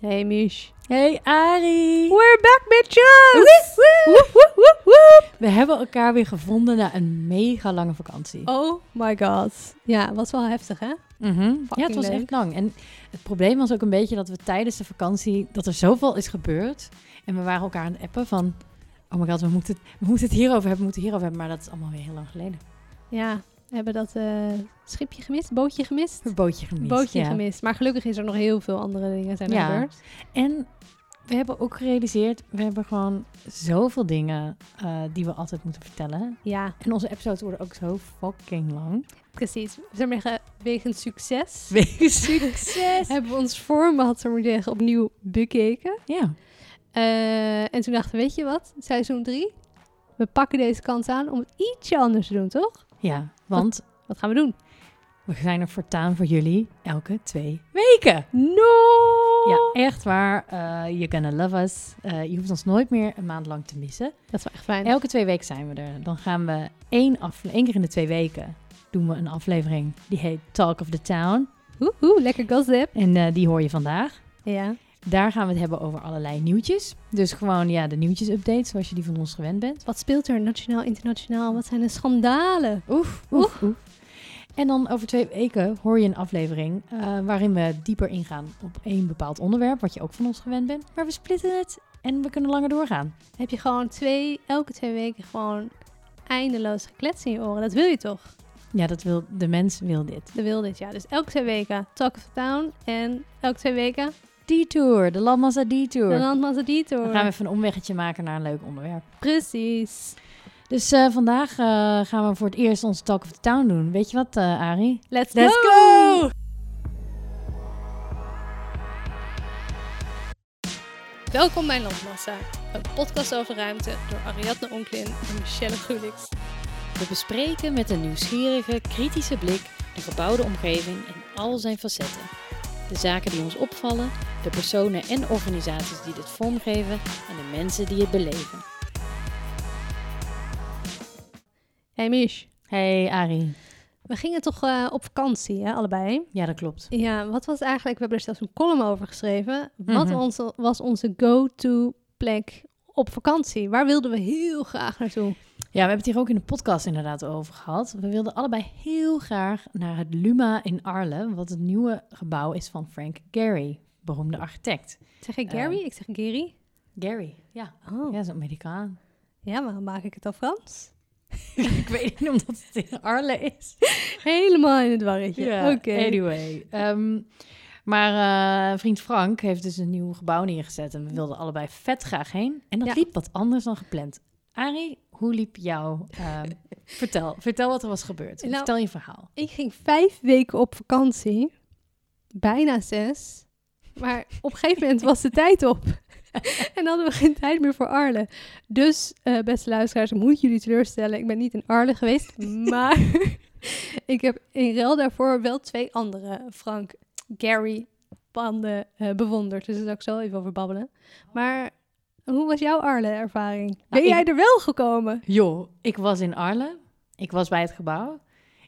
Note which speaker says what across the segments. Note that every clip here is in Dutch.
Speaker 1: Hey Mish.
Speaker 2: Hey Ari.
Speaker 1: We're back bitches!
Speaker 2: Woe,
Speaker 1: Woep, woep, woep, woep.
Speaker 2: We hebben elkaar weer gevonden na een mega lange vakantie.
Speaker 1: Oh my god. Ja, was wel heftig hè?
Speaker 2: Mhm. Ja, het was
Speaker 1: leuk.
Speaker 2: echt lang. En het probleem was ook een beetje dat we tijdens de vakantie, dat er zoveel is gebeurd. En we waren elkaar aan het appen van, oh my god, we moeten, we moeten het hierover hebben, we moeten het hierover hebben. Maar dat is allemaal weer heel lang geleden.
Speaker 1: Ja, we hebben dat eh, schipje gemist, bootje gemist.
Speaker 2: Een bootje gemist.
Speaker 1: bootje
Speaker 2: ja.
Speaker 1: gemist. Maar gelukkig is er nog heel veel andere dingen zijn er
Speaker 2: Ja.
Speaker 1: gebeurd.
Speaker 2: En we hebben ook gerealiseerd, we hebben gewoon zoveel dingen eh, die we altijd moeten vertellen.
Speaker 1: Ja,
Speaker 2: En onze episodes worden ook zo fucking lang.
Speaker 1: precies. We zijn maar wegens succes.
Speaker 2: Wees.
Speaker 1: succes! hebben we ons format, zo maar zeggen, opnieuw bekeken.
Speaker 2: Ja.
Speaker 1: Eh, en toen dachten we, weet je wat? Seizoen 3. We pakken deze kans aan om het ietsje anders te doen, toch?
Speaker 2: Ja, want
Speaker 1: Wat gaan we doen?
Speaker 2: we zijn er voortaan voor jullie elke twee weken. Oh.
Speaker 1: No!
Speaker 2: Ja, echt waar. Eh you're gonna love us. Eh, je hoeft ons nooit meer een maand lang te missen.
Speaker 1: Dat is wel echt fijn.
Speaker 2: Elke twee weken zijn we er. Dan gaan we één, afle- één keer in de twee weken doen we een aflevering. Die heet Talk of the Town.
Speaker 1: Oeh, lekker gossip.
Speaker 2: En eh, die hoor je vandaag.
Speaker 1: Ja.
Speaker 2: Daar gaan we het hebben over allerlei nieuwtjes. Dus gewoon ja, de nieuwtjes-updates zoals je die van ons gewend bent.
Speaker 1: Wat speelt er nationaal, internationaal? Wat zijn de schandalen?
Speaker 2: Oef, oef, oef. En dan over twee weken hoor je een aflevering eh, waarin we dieper ingaan op één bepaald onderwerp, wat je ook van ons gewend bent. Maar we splitten het en we kunnen langer doorgaan.
Speaker 1: Heb je gewoon twee, elke twee weken gewoon eindeloos geklets in je oren? Dat wil je toch?
Speaker 2: Ja, dat wil, de mens wil dit.
Speaker 1: Dat wil dit jaar. Dus elke twee weken Talk of the Town. En elke twee weken
Speaker 2: Detour, de Lamassa
Speaker 1: de
Speaker 2: Detour.
Speaker 1: Landmasse Detour.
Speaker 2: Dan gaan we even een omweggetje maken naar een leuk onderwerp.
Speaker 1: Precies.
Speaker 2: Dus eh, vandaag eh, gaan we voor het eerst onze Talk of the Town doen. Weet je wat, eh Ari?
Speaker 1: Let's,
Speaker 2: Let's
Speaker 1: go!
Speaker 2: go!
Speaker 1: Welkom bij Landmassa, een podcast over ruimte door Ariadne Onklin en Michelle Gulix.
Speaker 3: We bespreken met een nieuwsgierige, kritische blik de gebouwde omgeving in al zijn facetten. De zaken die ons opvallen, de personen en organisaties die dit vormgeven en de mensen die het beleven.
Speaker 1: Hey Mish,
Speaker 2: Hey Ari.
Speaker 1: we gingen toch eh, op vakantie, hè, allebei?
Speaker 2: Ja, dat klopt.
Speaker 1: Ja, wat was eigenlijk, we hebben er zelfs een column over geschreven. Wat
Speaker 2: Mhm.
Speaker 1: onze, was onze go-to plek op vakantie? Waar wilden we heel graag naartoe?
Speaker 2: Ja, we hebben het hier ook in de podcast inderdaad over gehad. We wilden allebei heel graag naar het Luma in Arlen, wat het nieuwe gebouw is van Frank Gehry, beroemde architect.
Speaker 1: Zeg ik Gary? ik zeg Gary.
Speaker 2: Gehry, ja.
Speaker 1: Eh. Oh,
Speaker 2: Ja,
Speaker 1: ja.
Speaker 2: is een Amerikaan.
Speaker 1: waarom maak ik het al Frans?
Speaker 2: Ik weet niet omdat het in Arlen is.
Speaker 1: Helemaal in het warretje. Oké.
Speaker 2: anyway. Ehm, maar eh, vriend Frank heeft dus een nieuw gebouw neergezet en we wilden allebei vet graag heen. En dat
Speaker 1: Hm. Ja.
Speaker 2: liep wat anders dan gepland. Arie, hoe liep jouw... ehm, vertel, vertel wat er was gebeurd.
Speaker 1: Nou,
Speaker 2: vertel je verhaal.
Speaker 1: Ik ging vijf weken op vakantie. Bijna zes. Maar op een gegeven moment was de tijd op. en hadden we geen tijd meer voor Arlen. Dus, eh, beste luisteraars, ik moet jullie teleurstellen. Ik ben niet in Arlen geweest. maar ik heb in ruil daarvoor wel twee andere Frank Gary panden eh, bewonderd. Dus daar zal ik zo even over babbelen. Maar hoe was jouw Arlen-ervaring? Ben
Speaker 2: Nou, ik-
Speaker 1: jij er wel gekomen?
Speaker 2: Joh, ik was in Arlen. Ik was bij het gebouw.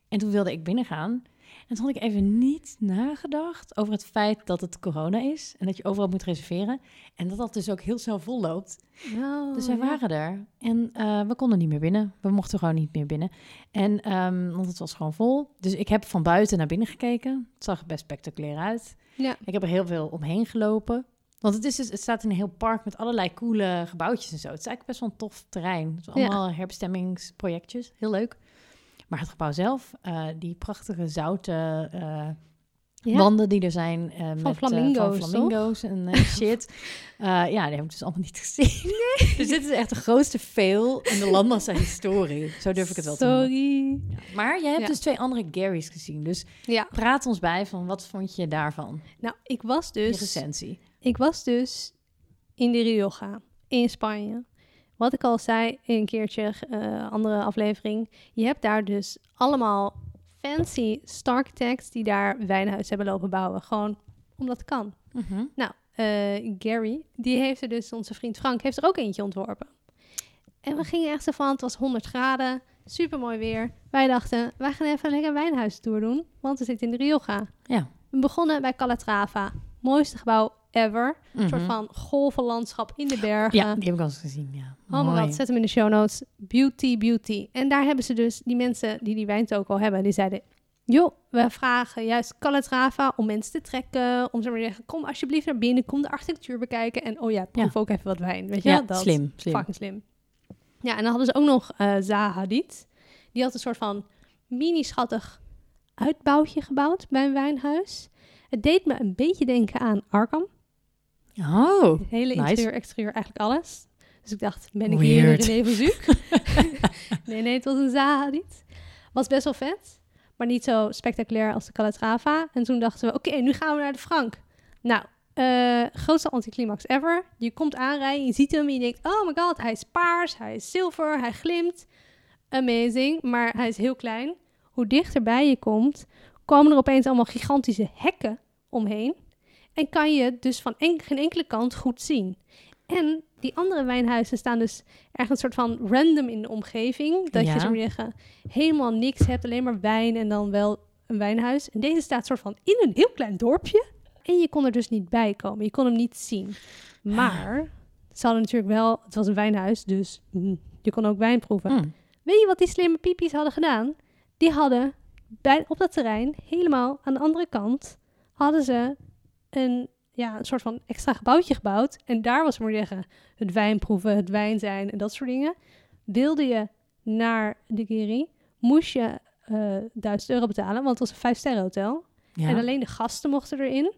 Speaker 2: En toen wilde ik binnengaan. En toen had ik even niet nagedacht over het feit dat het corona is. En dat je overal moet reserveren. En dat dat dus ook heel snel vol loopt.
Speaker 1: Oh,
Speaker 2: dus wij waren er. En eh, we konden niet meer binnen. We mochten gewoon niet meer binnen. En, ehm, want het was gewoon vol. Dus ik heb van buiten naar binnen gekeken. Het zag er best spectaculair uit.
Speaker 1: Ja.
Speaker 2: Ik heb er heel veel omheen gelopen. Want het, is dus, het staat in een heel park met allerlei coole gebouwtjes en zo. Het is eigenlijk best wel een tof terrein. Het zijn
Speaker 1: Ja.
Speaker 2: allemaal herbestemmingsprojectjes. Heel leuk. Maar het gebouw zelf, eh, die prachtige zouten eh,
Speaker 1: Ja.
Speaker 2: wanden die er zijn. eh, met, eh,
Speaker 1: flamingo's,
Speaker 2: van flamingo's en eh, shit. Eh, ja, die heb ik dus allemaal niet gezien. Dus dit is echt de grootste fail in de landmassa historie. Zo durf ik het wel te noemen.
Speaker 1: Sorry.
Speaker 2: Ja. Maar jij hebt
Speaker 1: Ja.
Speaker 2: dus twee andere Gary's gezien. Dus
Speaker 1: Ja.
Speaker 2: praat ons bij van wat vond je daarvan?
Speaker 1: Nou, ik was
Speaker 2: Je
Speaker 1: dus,
Speaker 2: recensie.
Speaker 1: ik was dus in de Rioja, in Spanje. Wat ik al zei in een keertje, eh, andere aflevering. Je hebt daar dus allemaal fancy architects die daar wijnhuis hebben lopen bouwen. Gewoon omdat het kan.
Speaker 2: Mhm.
Speaker 1: Nou, eh, Gary, die heeft er dus, onze vriend Frank, heeft er ook eentje ontworpen. En we gingen echt zo van, het was 100 graden, super mooi weer. Wij dachten, wij gaan even een lekker wijnhuistour doen, want we zitten in de Rioja.
Speaker 2: Ja.
Speaker 1: We begonnen bij Calatrava, mooiste gebouw ever. Een soort
Speaker 2: Mhm.
Speaker 1: van golvenlandschap in de bergen.
Speaker 2: Ja, die heb ik al eens gezien, ja.
Speaker 1: Oh my
Speaker 2: Mooi.
Speaker 1: god, zet hem in de show notes. Beauty, beauty. En daar hebben ze dus, die mensen die die wijn ook al hebben, die zeiden... joh, we vragen juist Calatrava om mensen te trekken. Om ze maar te zeggen, kom alsjeblieft naar binnen, kom de architectuur bekijken. En oh ja, proef ook even wat wijn. Weet je
Speaker 2: Ja,
Speaker 1: wel, dat?
Speaker 2: slim, slim.
Speaker 1: Fucking slim. Ja, en dan hadden ze ook nog eh Zaha Hadid. Die had een soort van mini-schattig uitbouwtje gebouwd bij een wijnhuis. Het deed me een beetje denken aan Arkham.
Speaker 2: Oh,
Speaker 1: Het hele
Speaker 2: Nice.
Speaker 1: interieur, exterieur, eigenlijk alles. Dus ik dacht, ben ik
Speaker 2: Weird.
Speaker 1: hier in van Zuuk? nee, nee, het was een Zahadit. Was best wel vet, maar niet zo spectaculair als de Calatrava. En toen dachten we, oké, nu gaan we naar de Frank. Nou, eh, grootste anticlimax ever. Je komt aanrijden, je ziet hem en je denkt, oh my god, hij is paars, hij is zilver, hij glimt. Amazing, maar hij is heel klein. Hoe dichterbij je komt, komen er opeens allemaal gigantische hekken omheen. En kan je het dus van en- geen enkele kant goed zien. En die andere wijnhuizen staan dus ergens een soort van random in de omgeving. Dat
Speaker 2: Ja.
Speaker 1: je zo maar zeggen, helemaal niks hebt, alleen maar wijn en dan wel een wijnhuis. En deze staat soort van in een heel klein dorpje. En je kon er dus niet bij komen. Je kon hem niet zien. Maar ze hadden natuurlijk wel, het was een wijnhuis, dus mm, je kon ook wijn proeven.
Speaker 2: Hmm.
Speaker 1: Weet je wat die slimme piepies hadden gedaan? Die hadden bij, op dat terrein, helemaal aan de andere kant, hadden ze een, ja, een soort van extra gebouwtje gebouwd. En daar was, moet ik zeggen, het wijnproeven, het wijn zijn en dat soort dingen. Wilde je naar de Giri, moest je eh 1000 euro betalen, want het was een vijfsterren hotel.
Speaker 2: ja.
Speaker 1: En alleen de gasten mochten erin.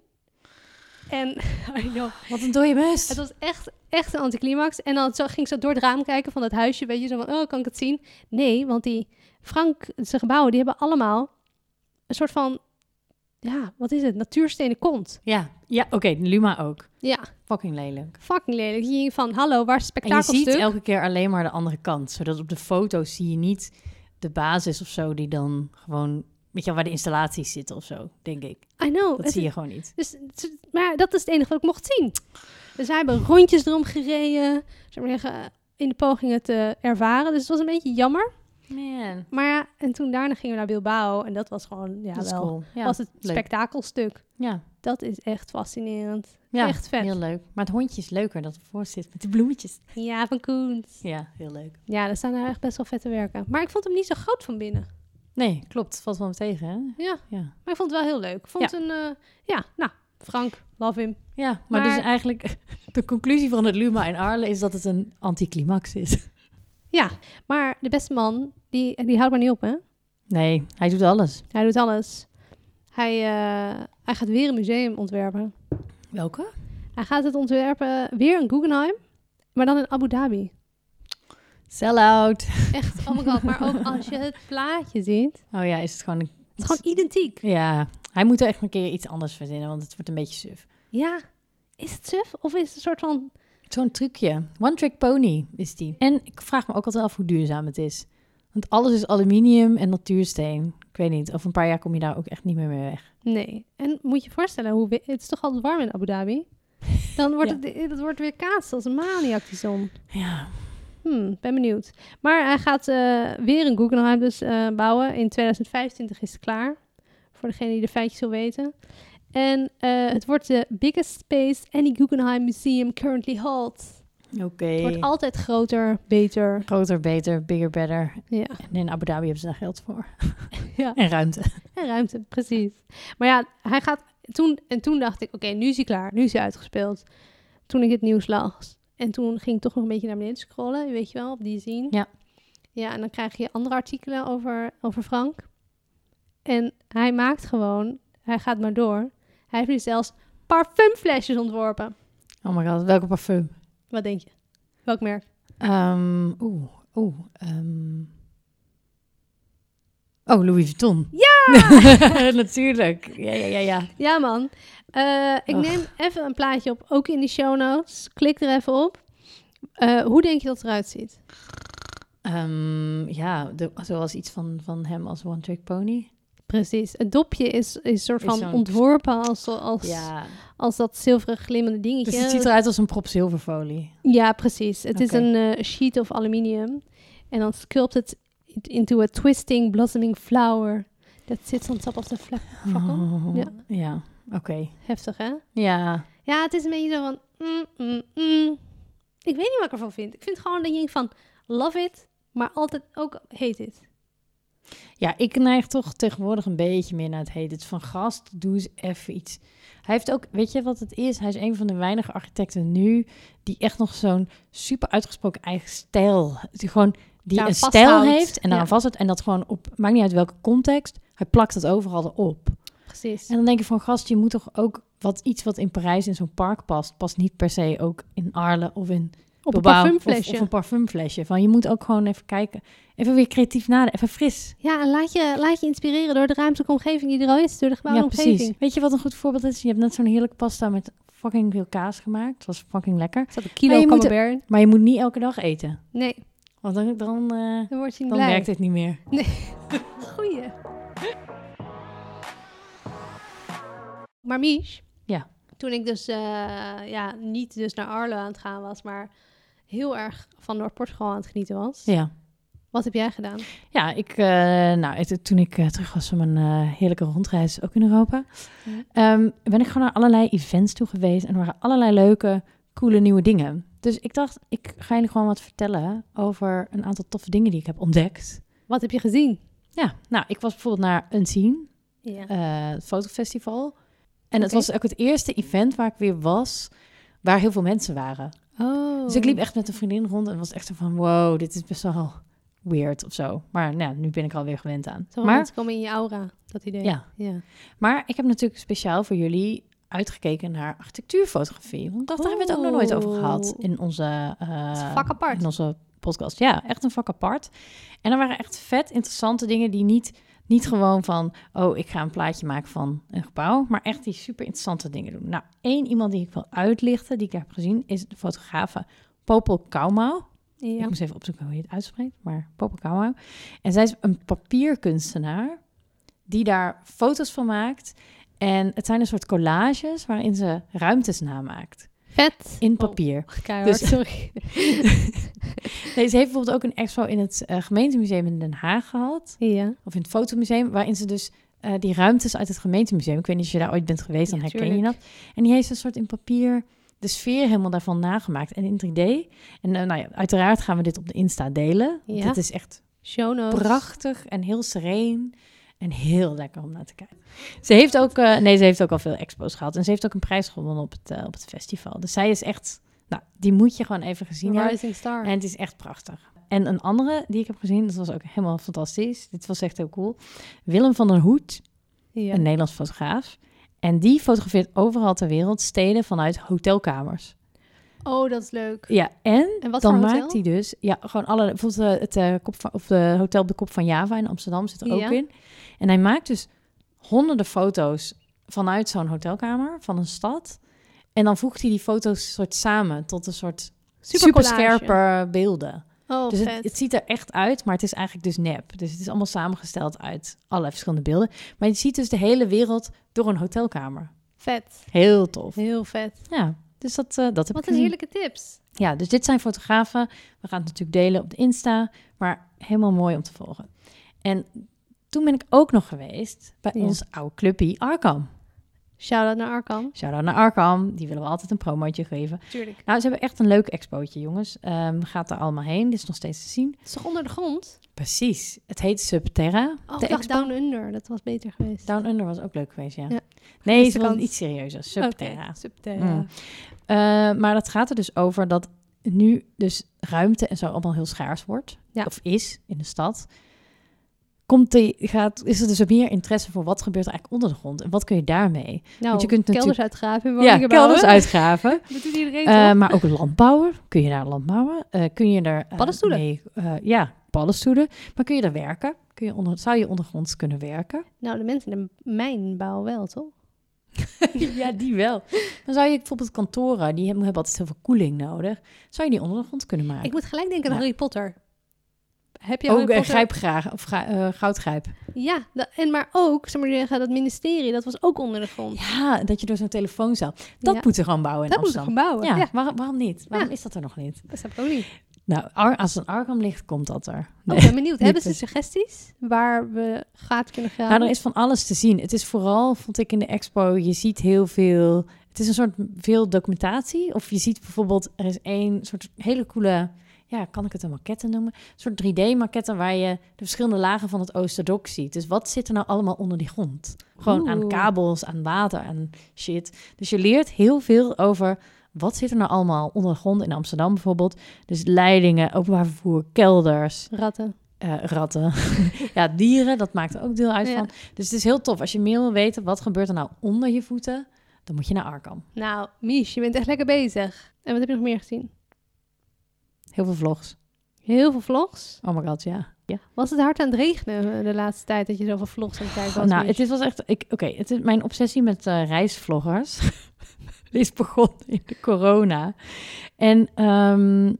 Speaker 1: En, I know,
Speaker 2: Wat een dode bus.
Speaker 1: het was echt, echt een anticlimax. En dan zo, ging ik zo door het raam kijken van dat huisje. Weet je, zo van, oh, kan ik het zien? Nee, want die Frank, zijn gebouwen, die hebben allemaal een soort van, ja, wat is het? Natuurstenen kont.
Speaker 2: Ja, ja oké, Luma ook.
Speaker 1: Ja,
Speaker 2: Fucking lelijk.
Speaker 1: fucking lelijk. Je ging van, hallo, waar is het
Speaker 2: En je
Speaker 1: spektakelstuk?
Speaker 2: ziet elke keer alleen maar de andere kant. Zodat op de foto's zie je niet de basis of zo die dan gewoon... Weet je, wel, waar de installaties zitten of zo, denk ik.
Speaker 1: I know.
Speaker 2: Dat
Speaker 1: het
Speaker 2: zie
Speaker 1: is-
Speaker 2: je gewoon niet.
Speaker 1: Dus, het- maar dat is het enige wat ik mocht zien. Dus wij hebben rondjes erom gereden, zou ik maar zeggen, in de poging het te ervaren. Dus het was een beetje jammer.
Speaker 2: Man,
Speaker 1: Maar ja, en toen daarna gingen we naar Bilbao en dat was gewoon, ja
Speaker 2: dat is
Speaker 1: wel,
Speaker 2: cool. Ja,
Speaker 1: was het
Speaker 2: leuk.
Speaker 1: spektakelstuk.
Speaker 2: ja.
Speaker 1: Dat is echt fascinerend.
Speaker 2: ja
Speaker 1: echt vet.
Speaker 2: heel leuk. Maar het hondje is leuker dat ervoor zit met de bloemetjes.
Speaker 1: Ja, van Koens.
Speaker 2: Ja, heel leuk.
Speaker 1: Ja, daar staan daar echt best wel vette werken. Maar ik vond hem niet zo groot van binnen.
Speaker 2: Nee, klopt. Valt wel me tegen, hè?
Speaker 1: Ja,
Speaker 2: Ja.
Speaker 1: maar ik vond het wel heel leuk. Ik Vond een, eh, ja, nou, Frank, love him.
Speaker 2: Ja, maar,
Speaker 1: Maar-
Speaker 2: dus eigenlijk de conclusie van het Luma in Arlen is dat het een anticlimax is.
Speaker 1: Ja, maar de beste man, die, die houdt maar niet op, hè?
Speaker 2: Nee, hij doet alles.
Speaker 1: Hij doet alles. Hij, eh, hij gaat weer een museum ontwerpen.
Speaker 2: Welke?
Speaker 1: Hij gaat het ontwerpen, weer een Guggenheim, maar dan in Abu Dhabi.
Speaker 2: Sell-out.
Speaker 1: Echt, oh my god. Maar ook als je het plaatje ziet,
Speaker 2: Oh ja, is het gewoon... een-
Speaker 1: het is gewoon identiek.
Speaker 2: Ja, hij moet er echt een keer iets anders verzinnen, want het wordt een beetje suf.
Speaker 1: Ja, is het suf of is het een soort van
Speaker 2: Zo'n trucje. One Trick Pony is die. En ik vraag me ook altijd af hoe duurzaam het is. Want alles is aluminium en natuursteen. Ik weet niet, over een paar jaar kom je daar ook echt niet meer mee weg.
Speaker 1: Nee. En moet je je voorstellen, hoe we- het is toch altijd warm in Abu Dhabi? Dan wordt het, het wordt weer kaats als een maniak die zon.
Speaker 2: Ja.
Speaker 1: Hmm, ben benieuwd. Maar hij gaat eh, weer een Guggenheim dus eh, bouwen. In 2025 is het klaar. Voor degene die de feitjes wil weten. En eh, het wordt de biggest space any Guggenheim museum currently holds.
Speaker 2: Oké.
Speaker 1: Het wordt altijd groter, beter.
Speaker 2: Groter, beter, bigger, better.
Speaker 1: Ja.
Speaker 2: En in Abu Dhabi hebben ze daar geld voor.
Speaker 1: Ja.
Speaker 2: En ruimte.
Speaker 1: En ruimte, precies. Maar ja, hij gaat toen en toen dacht ik, oké, nu is hij klaar, nu is hij uitgespeeld. Toen ik het nieuws las. En toen ging ik toch nog een beetje naar beneden scrollen, weet je wel, op die zien.
Speaker 2: Ja.
Speaker 1: Ja, en dan krijg je andere artikelen over, over Frank. En hij maakt gewoon, hij gaat maar door. Hij heeft nu zelfs parfumflesjes ontworpen.
Speaker 2: Oh my god, welke parfum?
Speaker 1: Wat denk je? Welk merk?
Speaker 2: Ehm, Oeh, oeh. ehm. Oh, Louis Vuitton. Ja! Natuurlijk. Ja, ja, ja, ja.
Speaker 1: Ja, man. Eh, ik
Speaker 2: Och.
Speaker 1: neem even een plaatje op, ook in de show notes. Klik er even op. Eh, hoe denk je dat het eruit ziet?
Speaker 2: Ehm, ja, de- zoals iets van, van hem als One Trick Pony.
Speaker 1: Precies. Het dopje is, is soort
Speaker 2: Is
Speaker 1: van
Speaker 2: zo'n-
Speaker 1: ontworpen als, als,
Speaker 2: Ja.
Speaker 1: als dat zilveren glimmende dingetje.
Speaker 2: Dus het ziet eruit als een prop zilverfolie.
Speaker 1: Ja, precies. Het is
Speaker 2: Oké.
Speaker 1: een eh, sheet of aluminium. En dan sculpt het into a twisting, blossoming flower. Dat zit on top of the fla- fakkel.
Speaker 2: Oh,
Speaker 1: Ja.
Speaker 2: Ja, oké.
Speaker 1: Heftig, hè?
Speaker 2: Ja.
Speaker 1: Ja, het is een beetje zo van... mm, mm, mm. Ik weet niet wat ik ervan vind. Ik vind gewoon dat je denkt van... Love it, maar altijd ook hate it.
Speaker 2: Ja, ik neig toch tegenwoordig een beetje meer naar het heden. Het is van gast, doe eens even iets. Hij heeft ook, weet je wat het is? Hij is een van de weinige architecten nu die echt nog zo'n super uitgesproken eigen stijl. Die gewoon die
Speaker 1: Daar
Speaker 2: een
Speaker 1: vasthoudt.
Speaker 2: stijl heeft en daar
Speaker 1: Ja.
Speaker 2: vasthoudt en dat gewoon op, maakt niet uit welke context. Hij plakt het overal op.
Speaker 1: Precies.
Speaker 2: En dan denk je van gast, je moet toch ook wat iets wat in Parijs in zo'n park past, past niet per se ook in Arles of in
Speaker 1: Op een
Speaker 2: Bilbao
Speaker 1: parfumflesje.
Speaker 2: Of, of een parfumflesje. Van je moet ook gewoon even kijken, even weer creatief nadenken, even fris.
Speaker 1: Ja, en laat je, laat je inspireren door de ruimtelijke omgeving die er al is, door de gebouwde omgeving.
Speaker 2: Weet je wat een goed voorbeeld is? Je hebt net zo'n heerlijke pasta met fucking veel kaas gemaakt. Het was fucking lekker.
Speaker 1: Er zat een kilo
Speaker 2: Maar je moet-
Speaker 1: camembert in.
Speaker 2: Maar je moet niet elke dag eten.
Speaker 1: Nee,
Speaker 2: Want dan, dan, eh,
Speaker 1: dan word je niet
Speaker 2: dan
Speaker 1: blij.
Speaker 2: werkt het niet meer.
Speaker 1: Goeie. Maar Mies,
Speaker 2: Ja.
Speaker 1: toen ik dus eh, ja, niet dus naar Arlo aan het gaan was, maar heel erg van Noord-Portugal aan het genieten was.
Speaker 2: Ja,
Speaker 1: Wat heb jij gedaan?
Speaker 2: ja ik, eh, nou, het- toen ik eh, terug was van mijn eh, heerlijke rondreis, ook in Europa,
Speaker 1: Ja.
Speaker 2: ehm, ben ik gewoon naar allerlei events toe geweest. En er waren allerlei leuke, coole nieuwe dingen. Dus ik dacht, ik ga jullie gewoon wat vertellen over een aantal toffe dingen die ik heb ontdekt.
Speaker 1: Wat heb je gezien?
Speaker 2: Ja, nou, ik was bijvoorbeeld naar Unseen.
Speaker 1: Ja.
Speaker 2: eh, het fotofestival. En het
Speaker 1: Oké.
Speaker 2: was ook het eerste event waar ik weer was, waar heel veel mensen waren.
Speaker 1: oh.
Speaker 2: Dus ik liep echt met een vriendin rond en was echt zo van, wow, dit is best wel weird of zo. Maar nou, nu ben ik er alweer gewend aan.
Speaker 1: Zo
Speaker 2: maar,
Speaker 1: mensen komen in je aura, dat idee.
Speaker 2: ja.
Speaker 1: ja.
Speaker 2: maar ik heb natuurlijk speciaal voor jullie uitgekeken naar architectuurfotografie. Want ik dacht, daar hebben we het ook nog nooit over gehad
Speaker 1: Oh.
Speaker 2: in onze... eh,
Speaker 1: Het is vak apart.
Speaker 2: in onze podcast. Ja, echt een vak apart. En er waren echt vet interessante dingen die niet, niet gewoon van... oh, ik ga een plaatje maken van een gebouw... maar echt die super interessante dingen doen. Nou, één iemand die ik wil uitlichten, die ik daar heb gezien... is de fotografe Popel Kaumau. Ik
Speaker 1: Ja.
Speaker 2: moest even opzoeken hoe je het uitspreekt, maar Popel Kaumau. En zij is een papierkunstenaar die daar foto's van maakt... En het zijn een soort collages waarin ze ruimtes namaakt.
Speaker 1: Vet.
Speaker 2: In papier.
Speaker 1: Keihard,
Speaker 2: Dus-
Speaker 1: sorry.
Speaker 2: Nee, ze heeft bijvoorbeeld ook een expo in het eh, gemeentemuseum in Den Haag gehad.
Speaker 1: ja.
Speaker 2: Of in het fotomuseum, waarin ze dus eh, die ruimtes uit het gemeentemuseum... Ik weet niet of je daar ooit bent geweest, dan
Speaker 1: Ja,
Speaker 2: herken je
Speaker 1: tuurlijk.
Speaker 2: dat. En die heeft een soort in papier de sfeer helemaal daarvan nagemaakt. En in 3D. En eh, nou ja, uiteraard gaan we dit op de Insta delen. Want
Speaker 1: Ja.
Speaker 2: Het is echt
Speaker 1: Show notes.
Speaker 2: prachtig en heel sereen. En heel lekker om naar te kijken. Ze heeft ook, eh, nee, ze heeft ook al veel expos gehad. En ze heeft ook een prijs gewonnen op het, eh, op het festival. Dus zij is echt, nou, die moet je gewoon even gezien hebben.
Speaker 1: Rising Star.
Speaker 2: En het is echt prachtig. En een andere die ik heb gezien, dat was ook helemaal fantastisch. Dit was echt heel cool. Willem van der Hoed,
Speaker 1: ja.
Speaker 2: een Nederlands fotograaf. En die fotografeert overal ter wereld steden vanuit hotelkamers.
Speaker 1: Oh, dat is leuk.
Speaker 2: Ja, en
Speaker 1: En wat
Speaker 2: dan
Speaker 1: voor hotel?
Speaker 2: maakt hij dus, ja, gewoon alle, bijvoorbeeld eh, het eh, kop van, of de hotel op de kop van Java in Amsterdam zit er ook
Speaker 1: Ja.
Speaker 2: in. En hij maakt dus honderden foto's vanuit zo'n hotelkamer van een stad. En dan voegt hij die foto's soort samen tot een soort super
Speaker 1: Supercollage.
Speaker 2: scherpe beelden.
Speaker 1: Oh,
Speaker 2: Dus
Speaker 1: vet.
Speaker 2: het, het ziet er echt uit, maar het is eigenlijk dus nep. Dus het is allemaal samengesteld uit allerlei verschillende beelden. Maar je ziet dus de hele wereld door een hotelkamer.
Speaker 1: vet.
Speaker 2: Heel tof.
Speaker 1: Heel vet.
Speaker 2: Ja, dus dat, eh, dat heb
Speaker 1: Wat
Speaker 2: ik
Speaker 1: een
Speaker 2: gezien.
Speaker 1: heerlijke tips.
Speaker 2: Ja, dus dit zijn fotografen. We gaan het natuurlijk delen op de Insta. Maar helemaal mooi om te volgen. En toen ben ik ook nog geweest bij
Speaker 1: Ja.
Speaker 2: ons oude clubpie Arkham.
Speaker 1: Shout-out naar Arkan.
Speaker 2: Shout-out naar Arkham. Die willen we altijd een promotje geven.
Speaker 1: Tuurlijk.
Speaker 2: Nou, ze hebben echt een leuk expootje, jongens. Ehm, gaat er allemaal heen. Dit is nog steeds te zien.
Speaker 1: Het is toch onder de grond?
Speaker 2: Precies. Het heet Subterra.
Speaker 1: Oh,
Speaker 2: de
Speaker 1: ik dacht
Speaker 2: expo.
Speaker 1: Down Under. Dat was beter geweest.
Speaker 2: Down Under was ook leuk geweest, ja.
Speaker 1: Ja. Is
Speaker 2: Nee, ze
Speaker 1: de
Speaker 2: wilden
Speaker 1: kans.
Speaker 2: iets serieuzer. Subterra.
Speaker 1: Oké, Subterra.
Speaker 2: Mm. Eh, maar dat gaat er dus over dat nu dus ruimte en zo allemaal heel schaars wordt.
Speaker 1: Ja.
Speaker 2: Of is in de stad. Komt die, gaat, is er dus ook meer interesse voor wat gebeurt er eigenlijk onder de grond? En wat kun je daarmee?
Speaker 1: Nou,
Speaker 2: Want je kunt
Speaker 1: kelders
Speaker 2: natuurlijk-
Speaker 1: uitgraven in
Speaker 2: Ja,
Speaker 1: woningen bouwen.
Speaker 2: kelders uitgraven.
Speaker 1: Dat doet iedereen
Speaker 2: Eh,
Speaker 1: toch?
Speaker 2: maar ook landbouwen. Kun je daar landbouwen? Eh, kun je daar... eh,
Speaker 1: Paddenstoelen.
Speaker 2: mee- eh, ja, paddenstoelen. Maar kun je daar werken? Kun je onder, zou je ondergronds kunnen werken?
Speaker 1: Nou, de mensen in de mijn bouwen wel, toch?
Speaker 2: ja, die wel. Dan zou je bijvoorbeeld kantoren, die hebben, hebben altijd heel veel koeling nodig. Zou je die onder de grond kunnen maken?
Speaker 1: Ik moet gelijk denken aan
Speaker 2: Ja.
Speaker 1: Harry Potter. Heb je
Speaker 2: Ook
Speaker 1: Harry
Speaker 2: eh,
Speaker 1: Potter?
Speaker 2: grijpgraag of ga, eh, goudgrijp.
Speaker 1: Ja, da- en maar ook, zeg maar zeggen, dat ministerie, dat was ook onder de grond.
Speaker 2: Ja, dat je door zo'n telefoonzaal. Dat
Speaker 1: Ja.
Speaker 2: moeten we gewoon bouwen in
Speaker 1: dat moeten we
Speaker 2: Amsterdam.
Speaker 1: gaan bouwen. Ja.
Speaker 2: ja, Waarom, waarom niet? Waarom
Speaker 1: Ja.
Speaker 2: is dat er nog niet?
Speaker 1: dat snap ik ook niet.
Speaker 2: Nou, Ar- als een Arkham ligt, komt dat er.
Speaker 1: Oh,
Speaker 2: Nee.
Speaker 1: ik ben benieuwd. Hebben ze
Speaker 2: precies.
Speaker 1: suggesties waar we gaat kunnen gaan?
Speaker 2: Nou, er is van alles te zien. Het is vooral, vond ik in de expo, je ziet heel veel. Het Het is een soort veel documentatie. Of je ziet bijvoorbeeld, er is één soort hele coole, ja, kan ik het een maquette noemen? Een soort 3D-maquette waar je de verschillende lagen van het Oosterdok ziet. Dus wat zit er nou allemaal onder die grond? Gewoon aan
Speaker 1: Oeh.
Speaker 2: kabels, aan water, aan shit. Dus je leert heel veel over wat zit er nou allemaal onder de grond in Amsterdam bijvoorbeeld. Dus leidingen, openbaar vervoer, kelders,
Speaker 1: Ratten.
Speaker 2: eh, ratten. ja, dieren, dat maakt er ook deel uit
Speaker 1: Ja.
Speaker 2: van. Dus het is heel tof. Als je meer wil weten, wat gebeurt er nou onder je voeten? Dan moet je naar Arkham.
Speaker 1: Nou, Mies, je bent echt lekker bezig. En wat heb je nog meer gezien?
Speaker 2: Heel veel vlogs.
Speaker 1: Heel veel vlogs.
Speaker 2: Oh my god, ja. ja.
Speaker 1: Was het hard aan het regenen eh, de laatste tijd dat je zoveel vlogs aan het kijken was?
Speaker 2: nou,
Speaker 1: Mies?
Speaker 2: het is, was echt... ik- Oké, het is mijn obsessie met eh, reisvloggers is begonnen in de corona. En ehm,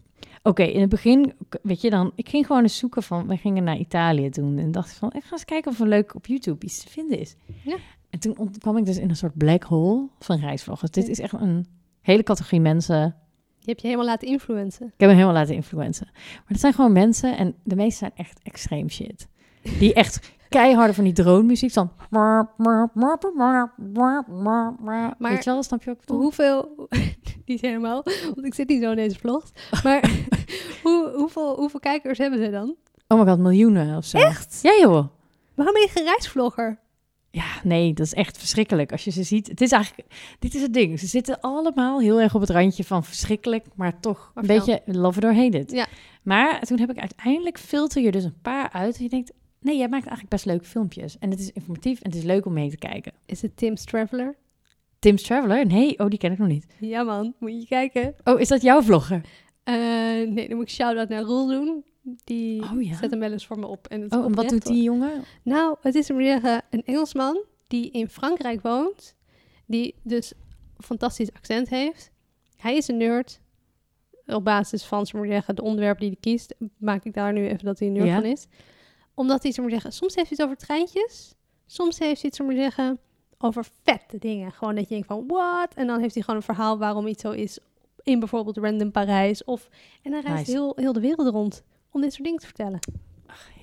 Speaker 2: oké, in het begin, weet je dan... Ik ging gewoon eens zoeken van... We gingen naar Italië toen. En dacht ik van, ik ga eens kijken of er leuk op YouTube iets te vinden is.
Speaker 1: Ja.
Speaker 2: En toen ont- kwam ik dus in een soort black hole van reisvloggers. Dit is echt een hele categorie mensen
Speaker 1: Je hebt je helemaal laten influencen.
Speaker 2: Ik heb me helemaal laten influencen. Maar dat zijn gewoon mensen en de meeste zijn echt extreem shit. Die echt keiharde van die dronemuziek van... Weet je wel, snap je ook?
Speaker 1: Hoeveel, niet helemaal, want ik zit niet zo in deze vlogs, maar hoe, hoeveel, hoeveel kijkers hebben ze dan?
Speaker 2: Oh my god, miljoenen of zo.
Speaker 1: Echt?
Speaker 2: Ja joh.
Speaker 1: Waarom ben je geen reisvlogger?
Speaker 2: Ja, nee, dat is echt verschrikkelijk. Als je ze ziet, het is eigenlijk... Dit is het ding. Ze zitten allemaal heel erg op het randje van verschrikkelijk, maar toch
Speaker 1: Maar
Speaker 2: een beetje love it or hate it.
Speaker 1: Ja.
Speaker 2: Maar toen heb ik uiteindelijk filter je dus een paar uit. En je denkt, nee, jij maakt eigenlijk best leuke filmpjes. En het is informatief en het is leuk om mee te kijken.
Speaker 1: Is het Tim's Traveler?
Speaker 2: Tim's Traveler? Nee, oh, die ken ik nog niet.
Speaker 1: Ja man, moet je kijken.
Speaker 2: Oh, is dat jouw vlogger?
Speaker 1: Eh, nee, dan moet ik shout-out naar Roel doen. Die
Speaker 2: Oh ja.
Speaker 1: zet hem wel eens voor me op. En het is
Speaker 2: Oh, en wat
Speaker 1: oprecht,
Speaker 2: doet
Speaker 1: hoor.
Speaker 2: die jongen?
Speaker 1: Nou, het is een, een Engelsman die in Frankrijk woont. Die dus een fantastisch accent heeft. Hij is een nerd. Op basis van, zullen we maar zeggen, de onderwerpen die hij kiest, maak ik daar nu even dat hij een nerd
Speaker 2: Ja.
Speaker 1: van is. Omdat hij, zullen we maar zeggen, soms heeft hij het over treintjes. Soms heeft hij het, zullen we maar zeggen, over vette dingen. Gewoon dat je denkt van, what? En dan heeft hij gewoon een verhaal waarom iets zo is in bijvoorbeeld Random Parijs. Of, en hij reist
Speaker 2: Nice.
Speaker 1: heel, heel de wereld rond om dit soort dingen te vertellen.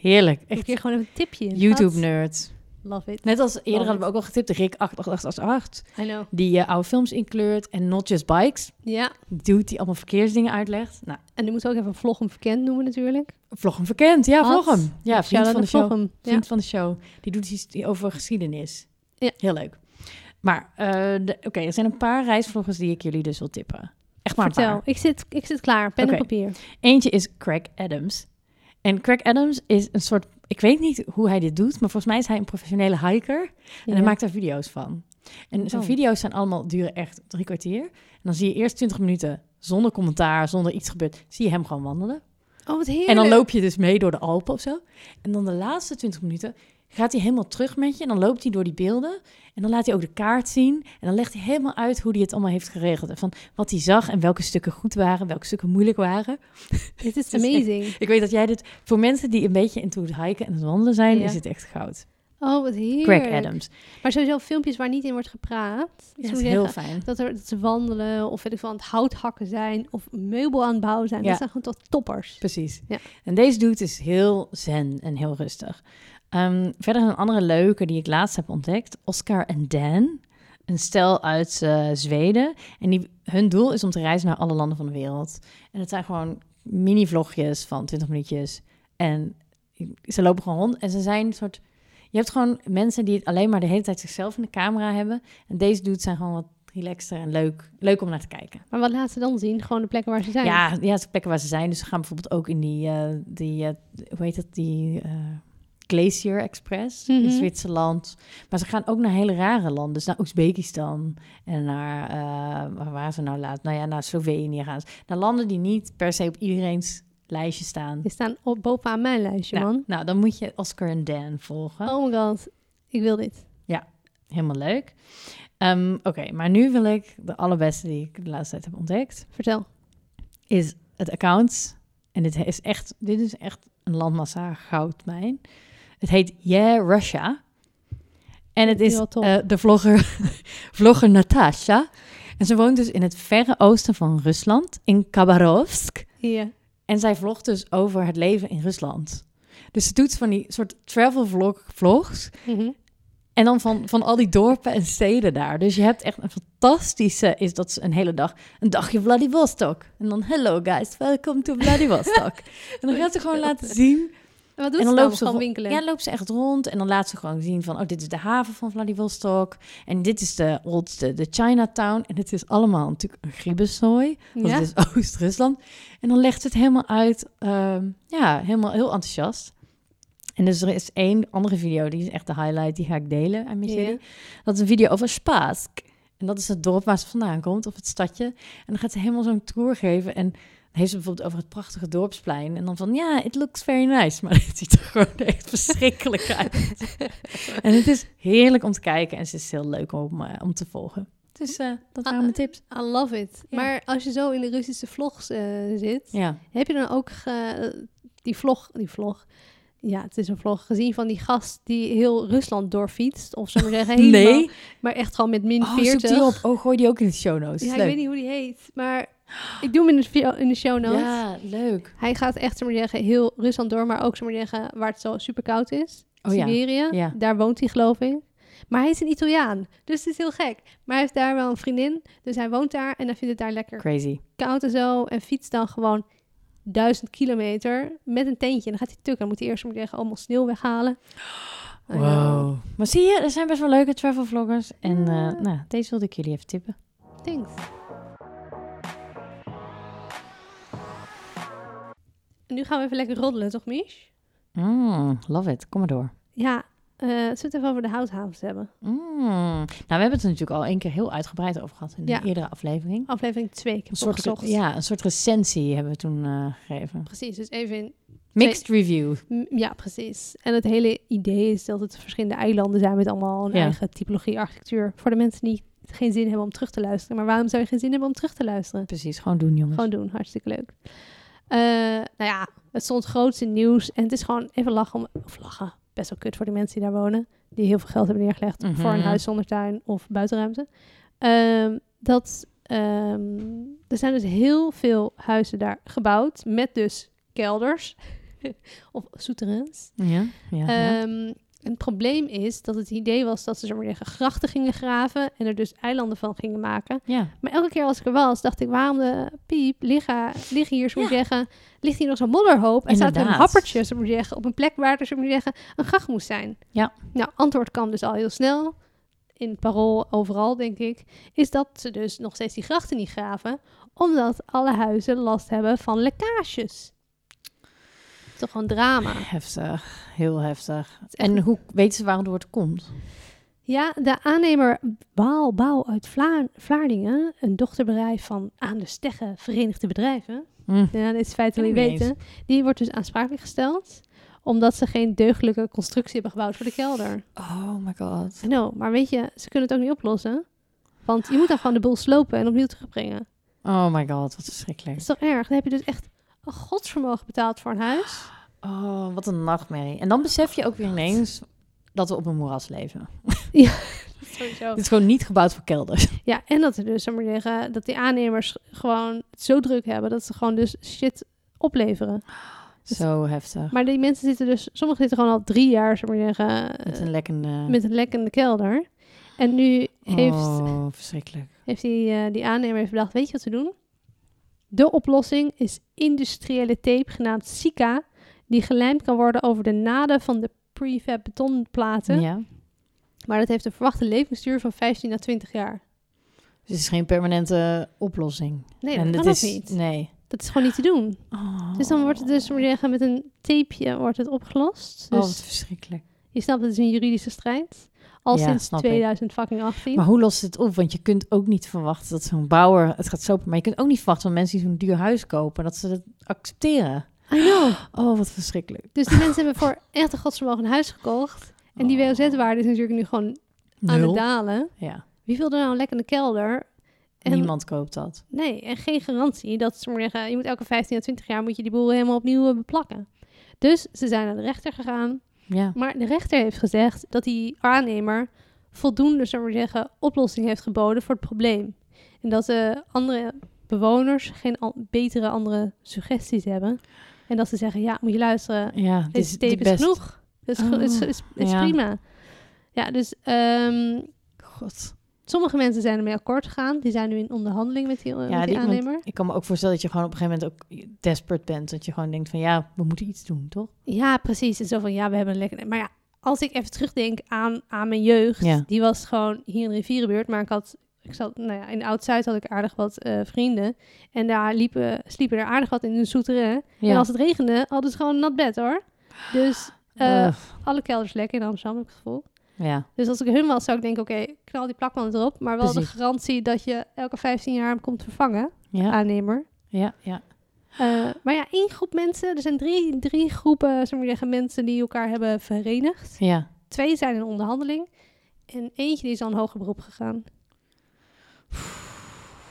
Speaker 2: Heerlijk.
Speaker 1: Echt? Ik
Speaker 2: Echt
Speaker 1: hier gewoon even een tipje in. Had-
Speaker 2: YouTube-nerd.
Speaker 1: Love it.
Speaker 2: Net als eerder hadden we ook al getipt, Rick 8888,
Speaker 1: I know.
Speaker 2: die eh, oude films inkleurt en Not Just Bikes.
Speaker 1: Ja,
Speaker 2: Die Dude die allemaal verkeersdingen uitlegt. Nou,
Speaker 1: en nu moet ik ook even vlog om verkend noemen natuurlijk.
Speaker 2: vlog hem verkend. Ja,
Speaker 1: Hans.
Speaker 2: vlog hem. Ja, vriend
Speaker 1: Shout-out
Speaker 2: van de
Speaker 1: naar
Speaker 2: show.
Speaker 1: Vlogem. Ja.
Speaker 2: Vriend van de show. Die doet iets die over geschiedenis.
Speaker 1: Ja.
Speaker 2: Heel leuk. Maar, eh, de- oké, er zijn een paar reisvloggers die ik jullie dus wil tippen. Echt maar een paar.
Speaker 1: Vertel, ik zit, ik zit klaar. Pen en
Speaker 2: Oké.
Speaker 1: papier.
Speaker 2: Eentje is Craig Adams. En Craig Adams is een soort... Ik weet niet hoe hij dit doet, maar volgens mij is hij een professionele hiker. En hij maakt daar video's van. En zijn
Speaker 1: Oh.
Speaker 2: video's zijn allemaal, duren echt drie kwartier. En dan zie je eerst 20 minuten zonder commentaar, zonder iets gebeurt. Zie je hem gewoon wandelen.
Speaker 1: Oh, wat heerlijk.
Speaker 2: En dan loop je dus mee door de Alpen of zo. En dan de laatste 20 minuten gaat hij helemaal terug met je. En dan loopt hij door die beelden. En dan laat hij ook de kaart zien. En dan legt hij helemaal uit hoe hij het allemaal heeft geregeld. En van wat hij zag en welke stukken goed waren, welke stukken moeilijk waren.
Speaker 1: Dit is
Speaker 2: Het is
Speaker 1: amazing.
Speaker 2: Ik weet dat jij dit... Voor mensen die een beetje into het hiken en het wandelen zijn,
Speaker 1: Ja.
Speaker 2: is het echt goud.
Speaker 1: Oh, wat heerlijk.
Speaker 2: Craig Adams.
Speaker 1: Maar sowieso filmpjes waar niet in wordt gepraat.
Speaker 2: Ja,
Speaker 1: Zo
Speaker 2: dat is
Speaker 1: zeggen,
Speaker 2: heel fijn.
Speaker 1: Dat, er, dat ze wandelen of weet ik veel, aan het hout hakken zijn of meubel aan het bouwen zijn.
Speaker 2: Ja.
Speaker 1: Dat zijn gewoon tot toppers.
Speaker 2: Precies.
Speaker 1: Ja.
Speaker 2: En deze dude is heel zen en heel rustig. Ehm, verder een andere leuke die ik laatst heb ontdekt. Oscar en Dan. Een stel uit eh, Zweden. En die, hun doel is om te reizen naar alle landen van de wereld. En het zijn gewoon mini-vlogjes van 20 minuutjes. En ze lopen gewoon rond. En ze zijn een soort... Je hebt gewoon mensen die het alleen maar de hele tijd zichzelf in de camera hebben. En deze dudes zijn gewoon wat relaxter en leuk, leuk om naar te kijken.
Speaker 1: Maar wat laten ze dan zien? Gewoon de plekken waar ze zijn.
Speaker 2: Ja, ja, het is plekken waar ze zijn. Dus ze gaan bijvoorbeeld ook in die, eh, die eh, hoe heet dat, die eh, Glacier Express
Speaker 1: Mhm.
Speaker 2: in Zwitserland. Maar ze gaan ook naar hele rare landen. Dus naar Oezbekistan en naar, eh, waar waren ze nou laat? Nou ja, naar Slovenië gaan ze. Naar landen die niet per se op iedereen's lijstje staan.
Speaker 1: Die staan op, bovenaan mijn lijstje,
Speaker 2: Nou,
Speaker 1: man.
Speaker 2: nou, dan moet je Oscar en Dan volgen.
Speaker 1: Oh my god, ik wil dit.
Speaker 2: Helemaal leuk. Ehm, Oké, maar nu wil ik de allerbeste die ik de laatste tijd heb ontdekt.
Speaker 1: Vertel.
Speaker 2: is het account. En dit is echt, dit is echt een landmassa goudmijn. Het heet Yeah Russia. En het
Speaker 1: Die
Speaker 2: is
Speaker 1: wel tof.
Speaker 2: eh, de vlogger, vlogger Natasha. En ze woont dus in het verre oosten van Rusland, in Khabarovsk.
Speaker 1: Ja.
Speaker 2: En zij vlogt dus over het leven in Rusland. Dus ze doet van die soort travel vlog, vlogs.
Speaker 1: Mhm.
Speaker 2: En dan van, van al die dorpen en steden daar. Dus je hebt echt een fantastische, is dat ze een hele dag, een dagje Vladivostok. En dan, hello guys, welcome to Vladivostok. en dan gaat ze gewoon laten zien
Speaker 1: En wat doet
Speaker 2: en
Speaker 1: ze dan?
Speaker 2: dan loopt ze
Speaker 1: Gewoon
Speaker 2: ro-
Speaker 1: winkelen.
Speaker 2: Ja, loopt ze echt rond en dan laat ze gewoon zien van... oh, dit is de haven van Vladivostok en dit is de oldste, de Chinatown. En het is allemaal natuurlijk een griebesnooi, want
Speaker 1: Ja?
Speaker 2: het is Oost-Rusland. En dan legt ze het helemaal uit, ehm, ja, helemaal heel enthousiast. En dus er is één andere video, die is echt de highlight, die ga ik delen aan
Speaker 1: Ja.
Speaker 2: jullie. Dat is een video over Spaask. En dat is het dorp waar ze vandaan komt, of het stadje. En dan gaat ze helemaal zo'n tour geven. En dan heeft ze bijvoorbeeld over het prachtige dorpsplein. En dan van, ja, it looks very nice. Maar het ziet er gewoon echt verschrikkelijk uit. en het is heerlijk om te kijken. En ze is heel leuk om, eh, om te volgen. Dus eh,
Speaker 1: Ah.
Speaker 2: dat waren mijn tips.
Speaker 1: I love it.
Speaker 2: Ja.
Speaker 1: Maar als je zo in de Russische vlogs eh, zit,
Speaker 2: Ja,
Speaker 1: heb je dan ook ge- die vlog, die vlog, ja, het is een vlog, gezien van die gast die heel Rusland doorfietst? Of zullen we zeggen, helemaal,
Speaker 2: Nee.
Speaker 1: maar echt gewoon met min
Speaker 2: oh, zoek
Speaker 1: 40.
Speaker 2: die op. Oh, gooi die ook in de show notes.
Speaker 1: Ja, ik
Speaker 2: Leuk.
Speaker 1: weet niet hoe die heet, maar ik doe hem in de, video- in de show notes.
Speaker 2: Ja, leuk.
Speaker 1: Hij gaat echt, zullen we zeggen, heel Rusland door, maar ook, zullen we zeggen, waar het zo super koud is.
Speaker 2: Oh ja.
Speaker 1: Siberië,
Speaker 2: Ja.
Speaker 1: daar woont hij geloof ik. Maar hij is een Italiaan, dus het is heel gek. Maar hij heeft daar wel een vriendin, dus hij woont daar en hij vindt het daar lekker
Speaker 2: Crazy.
Speaker 1: koud en zo. En fietst dan gewoon duizend kilometer met een tentje. En dan gaat hij tukken. Dan moet hij eerst moet ik zeggen, allemaal sneeuw weghalen. I know.
Speaker 2: Wow. Maar zie je, er zijn best wel leuke travel vloggers. En eh, nou, deze wilde ik jullie even tippen.
Speaker 1: Thanks. En nu gaan we even lekker roddelen, toch Mich?
Speaker 2: Mm, love it. Kom maar door.
Speaker 1: Ja, eh zullen we het even over de houthavens hebben?
Speaker 2: Mm. Nou, we hebben het er natuurlijk al één keer heel uitgebreid over gehad in
Speaker 1: Ja.
Speaker 2: de eerdere aflevering.
Speaker 1: Aflevering 2, ik heb
Speaker 2: Een soort,
Speaker 1: opgezocht.
Speaker 2: ja, een soort recensie hebben we toen eh, gegeven.
Speaker 1: Precies, dus even in...
Speaker 2: Mixed review.
Speaker 1: m, Ja, precies. En het hele idee is dat het verschillende eilanden zijn met allemaal een
Speaker 2: Ja.
Speaker 1: eigen typologie architectuur. Voor de mensen die geen zin hebben om terug te luisteren. Maar waarom zou je geen zin hebben om terug te luisteren?
Speaker 2: Precies, gewoon doen jongens.
Speaker 1: Gewoon doen, hartstikke leuk. Eh, nou ja, het stond grootste nieuws. En het is gewoon even lachen om... Of lachen, best wel kut voor de mensen die daar wonen. Die heel veel geld hebben neergelegd
Speaker 2: Mhm.
Speaker 1: voor een huis zonder tuin of buitenruimte. Ehm, dat, ehm, er zijn dus heel veel huizen daar gebouwd. Met dus kelders. of souterrains.
Speaker 2: Ja, ja, ja.
Speaker 1: Ehm, en het probleem is dat het idee was dat ze zo maar zeggen grachten gingen graven. En er dus eilanden van gingen maken.
Speaker 2: ja.
Speaker 1: Maar elke keer als ik er was, dacht ik, waarom de piep liggen, liggen hier, zo moet
Speaker 2: Ja.
Speaker 1: zeggen, ligt hier nog zo'n modderhoop en staat er een
Speaker 2: Inderdaad.
Speaker 1: happertje, zo moet zeggen, op een plek waar er, zo moet zeggen, een gracht moest zijn.
Speaker 2: Ja.
Speaker 1: Nou, antwoord kwam dus al heel snel, in het parool, overal denk ik, is dat ze dus nog steeds die grachten niet graven, omdat alle huizen last hebben van lekkages. Toch een drama.
Speaker 2: Heftig, heel heftig. En hoe weten ze waardoor het komt?
Speaker 1: Ja, de aannemer Baal Bouw uit Vla- Vlaardingen, een dochterbedrijf van Aan de Stegge Verenigde Bedrijven,
Speaker 2: Mm.
Speaker 1: Ja, dit is feitelijk
Speaker 2: Ken ik niet
Speaker 1: weten. Die wordt dus aansprakelijk gesteld omdat ze geen deugdelijke constructie hebben gebouwd voor de kelder.
Speaker 2: Oh my god.
Speaker 1: I know, maar weet je, ze kunnen het ook niet oplossen. Want je moet dan gewoon de boel slopen en opnieuw terugbrengen.
Speaker 2: Oh my god,
Speaker 1: Dat
Speaker 2: wat verschrikkelijk.
Speaker 1: is toch erg? Dan heb je dus echt een godsvermogen betaald voor een huis.
Speaker 2: Oh, wat een nachtmerrie. En dan besef je ook weer ineens dat we op een moeras leven.
Speaker 1: Sowieso.
Speaker 2: Het is gewoon niet gebouwd voor kelders.
Speaker 1: Ja, en dat er dus, zou maar zeggen, dat die aannemers gewoon het zo druk hebben dat ze gewoon dus shit opleveren.
Speaker 2: Zo heftig.
Speaker 1: Maar die mensen zitten dus, sommigen zitten gewoon al drie jaar, zou maar zeggen,
Speaker 2: Eh,
Speaker 1: eh,
Speaker 2: Met een lekkende...
Speaker 1: met een lek in de kelder. En nu heeft
Speaker 2: Oh, verschrikkelijk.
Speaker 1: heeft die, eh, die aannemer heeft bedacht, weet je wat we doen? De oplossing is industriële tape genaamd Sika, die gelijmd kan worden over de naden van de prefab betonplaten.
Speaker 2: Ja. Dus
Speaker 1: Maar dat heeft een verwachte levensduur van 15 à 20 jaar.
Speaker 2: Dus het is geen permanente oplossing.
Speaker 1: Nee,
Speaker 2: en
Speaker 1: dat
Speaker 2: het
Speaker 1: kan ook
Speaker 2: is,
Speaker 1: niet.
Speaker 2: Nee.
Speaker 1: Dat is gewoon niet te doen.
Speaker 2: Oh.
Speaker 1: Dus dan wordt het dus, moet je zeggen, met een tapeje wordt het opgelost.
Speaker 2: Oh,
Speaker 1: Dus
Speaker 2: wat verschrikkelijk.
Speaker 1: je snapt, het is een juridische strijd. Al
Speaker 2: Ja,
Speaker 1: sinds
Speaker 2: snap ik.
Speaker 1: 2018.
Speaker 2: Maar hoe lost het op? Want je kunt ook niet verwachten dat zo'n bouwer... Het gaat zo... Maar je kunt ook niet verwachten van mensen die zo'n duur huis kopen... dat ze dat accepteren.
Speaker 1: I know.
Speaker 2: Oh, wat verschrikkelijk.
Speaker 1: Dus die mensen hebben voor echt een godsvermogen een huis gekocht. En die
Speaker 2: Oh.
Speaker 1: WOZ-waarde is natuurlijk nu gewoon aan
Speaker 2: Nul.
Speaker 1: het dalen.
Speaker 2: Ja.
Speaker 1: Wie wil er nou een lek in de kelder? En,
Speaker 2: Niemand koopt dat.
Speaker 1: Nee, en geen garantie. Dat ze maar zeggen, je moet elke 15 à 20 jaar moet je die boel helemaal opnieuw eh, beplakken. Dus ze zijn naar de rechter gegaan.
Speaker 2: Ja.
Speaker 1: Maar de rechter heeft gezegd dat die aannemer voldoende, zullen we maar zeggen, oplossing heeft geboden voor het probleem. En dat de andere bewoners geen al- betere andere suggesties hebben. En dat ze zeggen, ja, moet je luisteren,
Speaker 2: Ja, dit
Speaker 1: deze
Speaker 2: is de
Speaker 1: tape is
Speaker 2: best.
Speaker 1: genoeg. Het is, ge- het is,
Speaker 2: Oh,
Speaker 1: is, is
Speaker 2: ja.
Speaker 1: prima. Ja, dus ehm,
Speaker 2: God.
Speaker 1: sommige mensen zijn ermee akkoord gegaan. Die zijn nu in onderhandeling met die, eh, met die
Speaker 2: die- want
Speaker 1: aannemer.
Speaker 2: Ik kan me ook voorstellen dat je gewoon op een gegeven moment ook desperate bent. Dat je gewoon denkt van ja, we moeten iets doen, toch?
Speaker 1: Ja, precies. En zo van, ja, we hebben een lekker... Maar ja, als ik even terugdenk aan, aan mijn jeugd.
Speaker 2: Ja.
Speaker 1: Die was gewoon hier in de rivierenbuurt. Maar ik had... Ik zat, nou ja, in Oud-Zuid had ik aardig wat eh, vrienden. En daar liepen, sliepen er aardig wat in hun soeteren. En als het regende, hadden ze gewoon een nat bed, hoor. Dus eh,
Speaker 2: Ugh,
Speaker 1: alle kelders lekker in Amsterdam, heb ik het gevoel.
Speaker 2: ja.
Speaker 1: Dus als ik hun was, zou ik denken, oké, knal die plakband erop. Maar wel
Speaker 2: Precies.
Speaker 1: de garantie dat je elke 15 jaar hem komt vervangen,
Speaker 2: Ja,
Speaker 1: aannemer.
Speaker 2: ja, ja.
Speaker 1: Eh, maar ja, één groep mensen, er zijn drie, drie groepen zeg maar zeggen, mensen die elkaar hebben verenigd.
Speaker 2: Ja.
Speaker 1: Twee zijn in onderhandeling en eentje die is al een hoger beroep gegaan.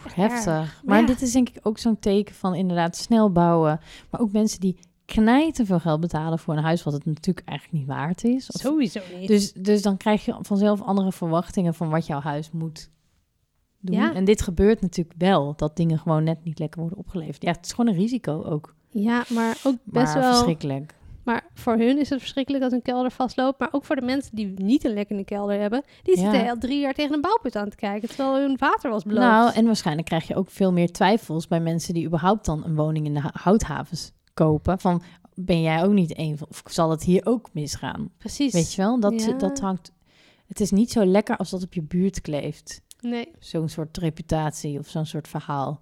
Speaker 2: Heftig.
Speaker 1: Maar
Speaker 2: Maar
Speaker 1: ja.
Speaker 2: dit is denk ik ook zo'n teken van inderdaad snel bouwen. Maar ook mensen die knijten veel geld betalen voor een huis, wat het natuurlijk eigenlijk niet waard is. Of-
Speaker 1: Sowieso niet.
Speaker 2: dus, dus dan krijg je vanzelf andere verwachtingen van wat jouw huis moet doen.
Speaker 1: Ja.
Speaker 2: En dit gebeurt natuurlijk wel, dat dingen gewoon net niet lekker worden opgeleverd. Ja, het is gewoon een risico ook.
Speaker 1: ja, maar ook
Speaker 2: Maar
Speaker 1: best wel.
Speaker 2: verschrikkelijk.
Speaker 1: Maar voor hun is het verschrikkelijk als een kelder vastloopt. Maar ook voor de mensen die niet een lek in de kelder hebben. Die
Speaker 2: Ja.
Speaker 1: zitten al drie jaar tegen een bouwput aan te kijken. Terwijl hun water was beloofd.
Speaker 2: Nou, en waarschijnlijk krijg je ook veel meer twijfels bij mensen die überhaupt dan een woning in de hou- houthavens kopen. Van, ben jij ook niet een van, of zal het hier ook misgaan?
Speaker 1: Precies.
Speaker 2: Weet je wel, dat,
Speaker 1: Ja.
Speaker 2: dat hangt. Het is niet zo lekker als dat op je buurt kleeft.
Speaker 1: Nee,
Speaker 2: Zo'n soort reputatie of zo'n soort verhaal.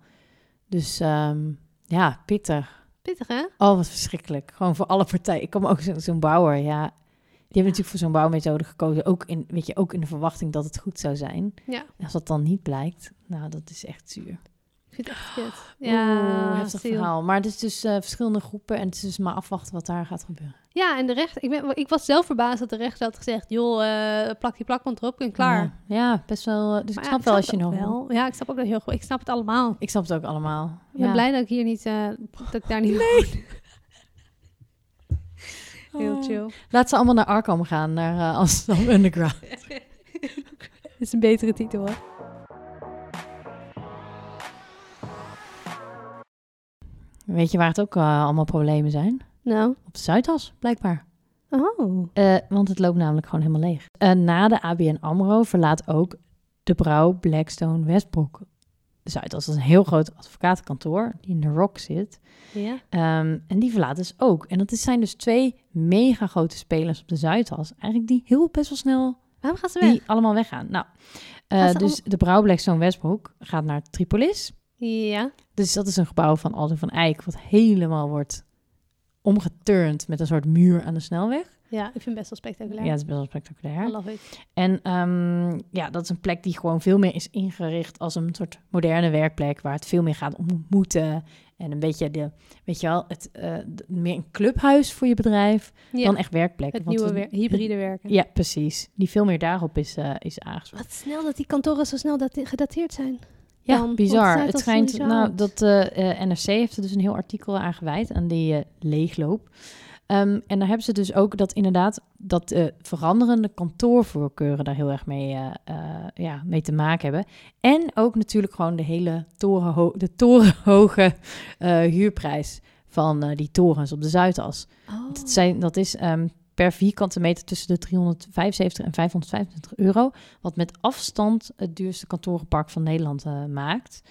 Speaker 2: Dus ehm, ja, pittig.
Speaker 1: pittig hè?
Speaker 2: Oh, wat verschrikkelijk. Gewoon voor alle partijen. Ik kom ook zo- zo'n bouwer, ja. Die hebben natuurlijk voor zo'n bouwmethode gekozen. Ook in, weet je, ook in de verwachting dat het goed zou zijn.
Speaker 1: Ja.
Speaker 2: En als dat dan niet blijkt, nou, dat is echt zuur.
Speaker 1: Ik vind het echt kut.
Speaker 2: Ja,
Speaker 1: Ja,
Speaker 2: heftig
Speaker 1: ziel.
Speaker 2: verhaal. Maar het is dus eh, verschillende groepen en het is dus maar afwachten wat daar gaat gebeuren.
Speaker 1: Ja, en de rechter, ik, ben, ik was zelf verbaasd dat de rechter had gezegd: joh, eh, plak die plakband erop en klaar. Maar
Speaker 2: Ja, ja, best wel. eh, Dus
Speaker 1: ja,
Speaker 2: ik snap wel als je
Speaker 1: het
Speaker 2: nog.
Speaker 1: ook wel. Ja, ik snap ook dat heel goed. Ik snap het allemaal.
Speaker 2: Ik snap het ook allemaal.
Speaker 1: Ik ben
Speaker 2: ja.
Speaker 1: blij dat ik hier niet, eh, dat ik daar niet. Heel chill.
Speaker 2: Laat ze Oh. allemaal naar Arkham gaan, naar eh, Amsterdam Underground.
Speaker 1: Dat is een betere titel hoor.
Speaker 2: Weet je waar het ook eh, allemaal problemen zijn?
Speaker 1: Nou,
Speaker 2: Op de Zuidas, blijkbaar.
Speaker 1: oh.
Speaker 2: Eh, want het loopt namelijk gewoon helemaal leeg. Eh, na de ABN AMRO verlaat ook de brouw Blackstone Westbrook de Zuidas. Dat is een heel groot advocatenkantoor die in de Rock zit.
Speaker 1: Ja.
Speaker 2: Ehm, en die verlaat dus ook. En dat is- zijn dus twee mega grote spelers op de Zuidas. Eigenlijk die heel best wel snel
Speaker 1: Waarom gaan ze weg?
Speaker 2: die allemaal weggaan. Nou, eh,
Speaker 1: Gaan ze
Speaker 2: dus de brouw Blackstone Westbrook gaat naar Tripolis.
Speaker 1: Ja.
Speaker 2: Dus dat is een gebouw van Aldo van Eyck, wat helemaal wordt omgeturnd met een soort muur aan de snelweg.
Speaker 1: Ja, ik vind het best wel
Speaker 2: Ja,
Speaker 1: spectaculair.
Speaker 2: dat is best wel spectaculair.
Speaker 1: I love it.
Speaker 2: En ehm, ja, dat is een plek die gewoon veel meer is ingericht als een soort moderne werkplek, waar het veel meer gaat om ontmoeten en een beetje de, weet je wel, het, eh, de- meer een clubhuis voor je bedrijf
Speaker 1: Ja,
Speaker 2: dan echt werkplek.
Speaker 1: het
Speaker 2: Want
Speaker 1: nieuwe
Speaker 2: we-
Speaker 1: wer- hybride werken.
Speaker 2: Ja, precies. Die veel meer daarop is, eh, is aangesproken.
Speaker 1: Wat snel dat die kantoren zo snel date- gedateerd zijn.
Speaker 2: Ja,
Speaker 1: dan, want het
Speaker 2: bizar.
Speaker 1: staat
Speaker 2: Het
Speaker 1: als
Speaker 2: schijnt,
Speaker 1: sowieso
Speaker 2: nou,
Speaker 1: uit.
Speaker 2: dat eh, eh, NRC heeft er dus een heel artikel aan gewijd, aan die eh, leegloop. Ehm, en daar hebben ze dus ook dat inderdaad, dat eh, veranderende kantoorvoorkeuren daar heel erg mee, eh, eh, ja, mee te maken hebben. En ook natuurlijk gewoon de hele torenho de torenhoge eh, huurprijs van eh, die torens op de Zuidas.
Speaker 1: Oh.
Speaker 2: Dat, zijn, dat is ehm, per vierkante meter tussen de 375 en 525 euro. Wat met afstand het duurste kantorenpark van Nederland eh, maakt.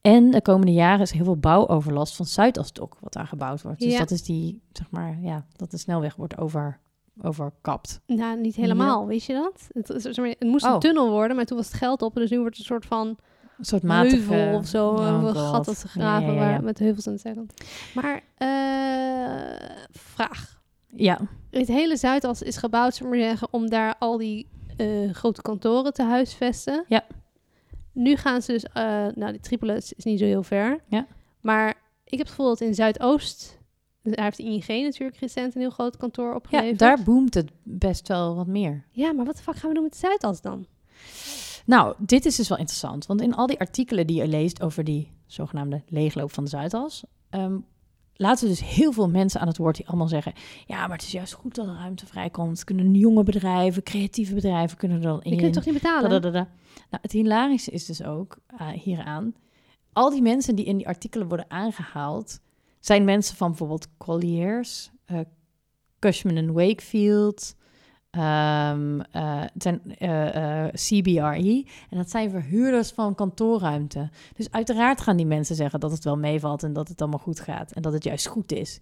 Speaker 2: En de komende jaren is er heel veel bouwoverlast van Zuidasdok, wat daar gebouwd wordt. Dus
Speaker 1: Ja.
Speaker 2: dat is die, zeg maar, ja, dat de snelweg wordt over, overkapt.
Speaker 1: Nou, niet helemaal, wist je dat? Het, is- zeg maar, het moest
Speaker 2: Oh.
Speaker 1: een tunnel worden, maar toen was het geld op. Dus nu wordt het een soort van
Speaker 2: Een soort matige...
Speaker 1: heuvel of zo.
Speaker 2: Oh
Speaker 1: een
Speaker 2: God.
Speaker 1: gat dat ze graven
Speaker 2: Ja, ja, ja,
Speaker 1: waar-
Speaker 2: ja.
Speaker 1: met heuvels aan de zijkant. Maar, eh, vraag.
Speaker 2: Ja,
Speaker 1: Het hele Zuidas is gebouwd, zullen we maar zeggen, om daar al die eh, grote kantoren te huisvesten.
Speaker 2: Ja.
Speaker 1: Nu gaan ze dus, eh, nou, die Tripolis is niet zo heel ver.
Speaker 2: Ja.
Speaker 1: Maar ik heb het gevoel dat in Zuidoost, daar heeft ING natuurlijk recent een heel groot kantoor
Speaker 2: ja
Speaker 1: opgeleverd.
Speaker 2: daar boomt het best wel wat meer.
Speaker 1: ja maar wat de fuck gaan we doen met de Zuidas dan?
Speaker 2: Nou, dit is dus wel interessant. Want in al die artikelen die je leest over die zogenaamde leegloop van de Zuidas... ehm, laten we dus heel veel mensen aan het woord die allemaal zeggen... ja, maar het is juist goed dat er ruimte vrijkomt. Kunnen jonge bedrijven, creatieve bedrijven kunnen er dan in.
Speaker 1: Je kunt het toch niet betalen?
Speaker 2: Dadadada. Nou, het hilarische is dus ook eh, hieraan... al die mensen die in die artikelen worden aangehaald... zijn mensen van bijvoorbeeld Colliers, eh, Cushman Wakefield... ehm, eh, het zijn eh, eh, CBRE. En dat zijn verhuurders van kantoorruimte. Dus uiteraard gaan die mensen zeggen dat het wel meevalt en dat het allemaal goed gaat. En dat het juist goed is.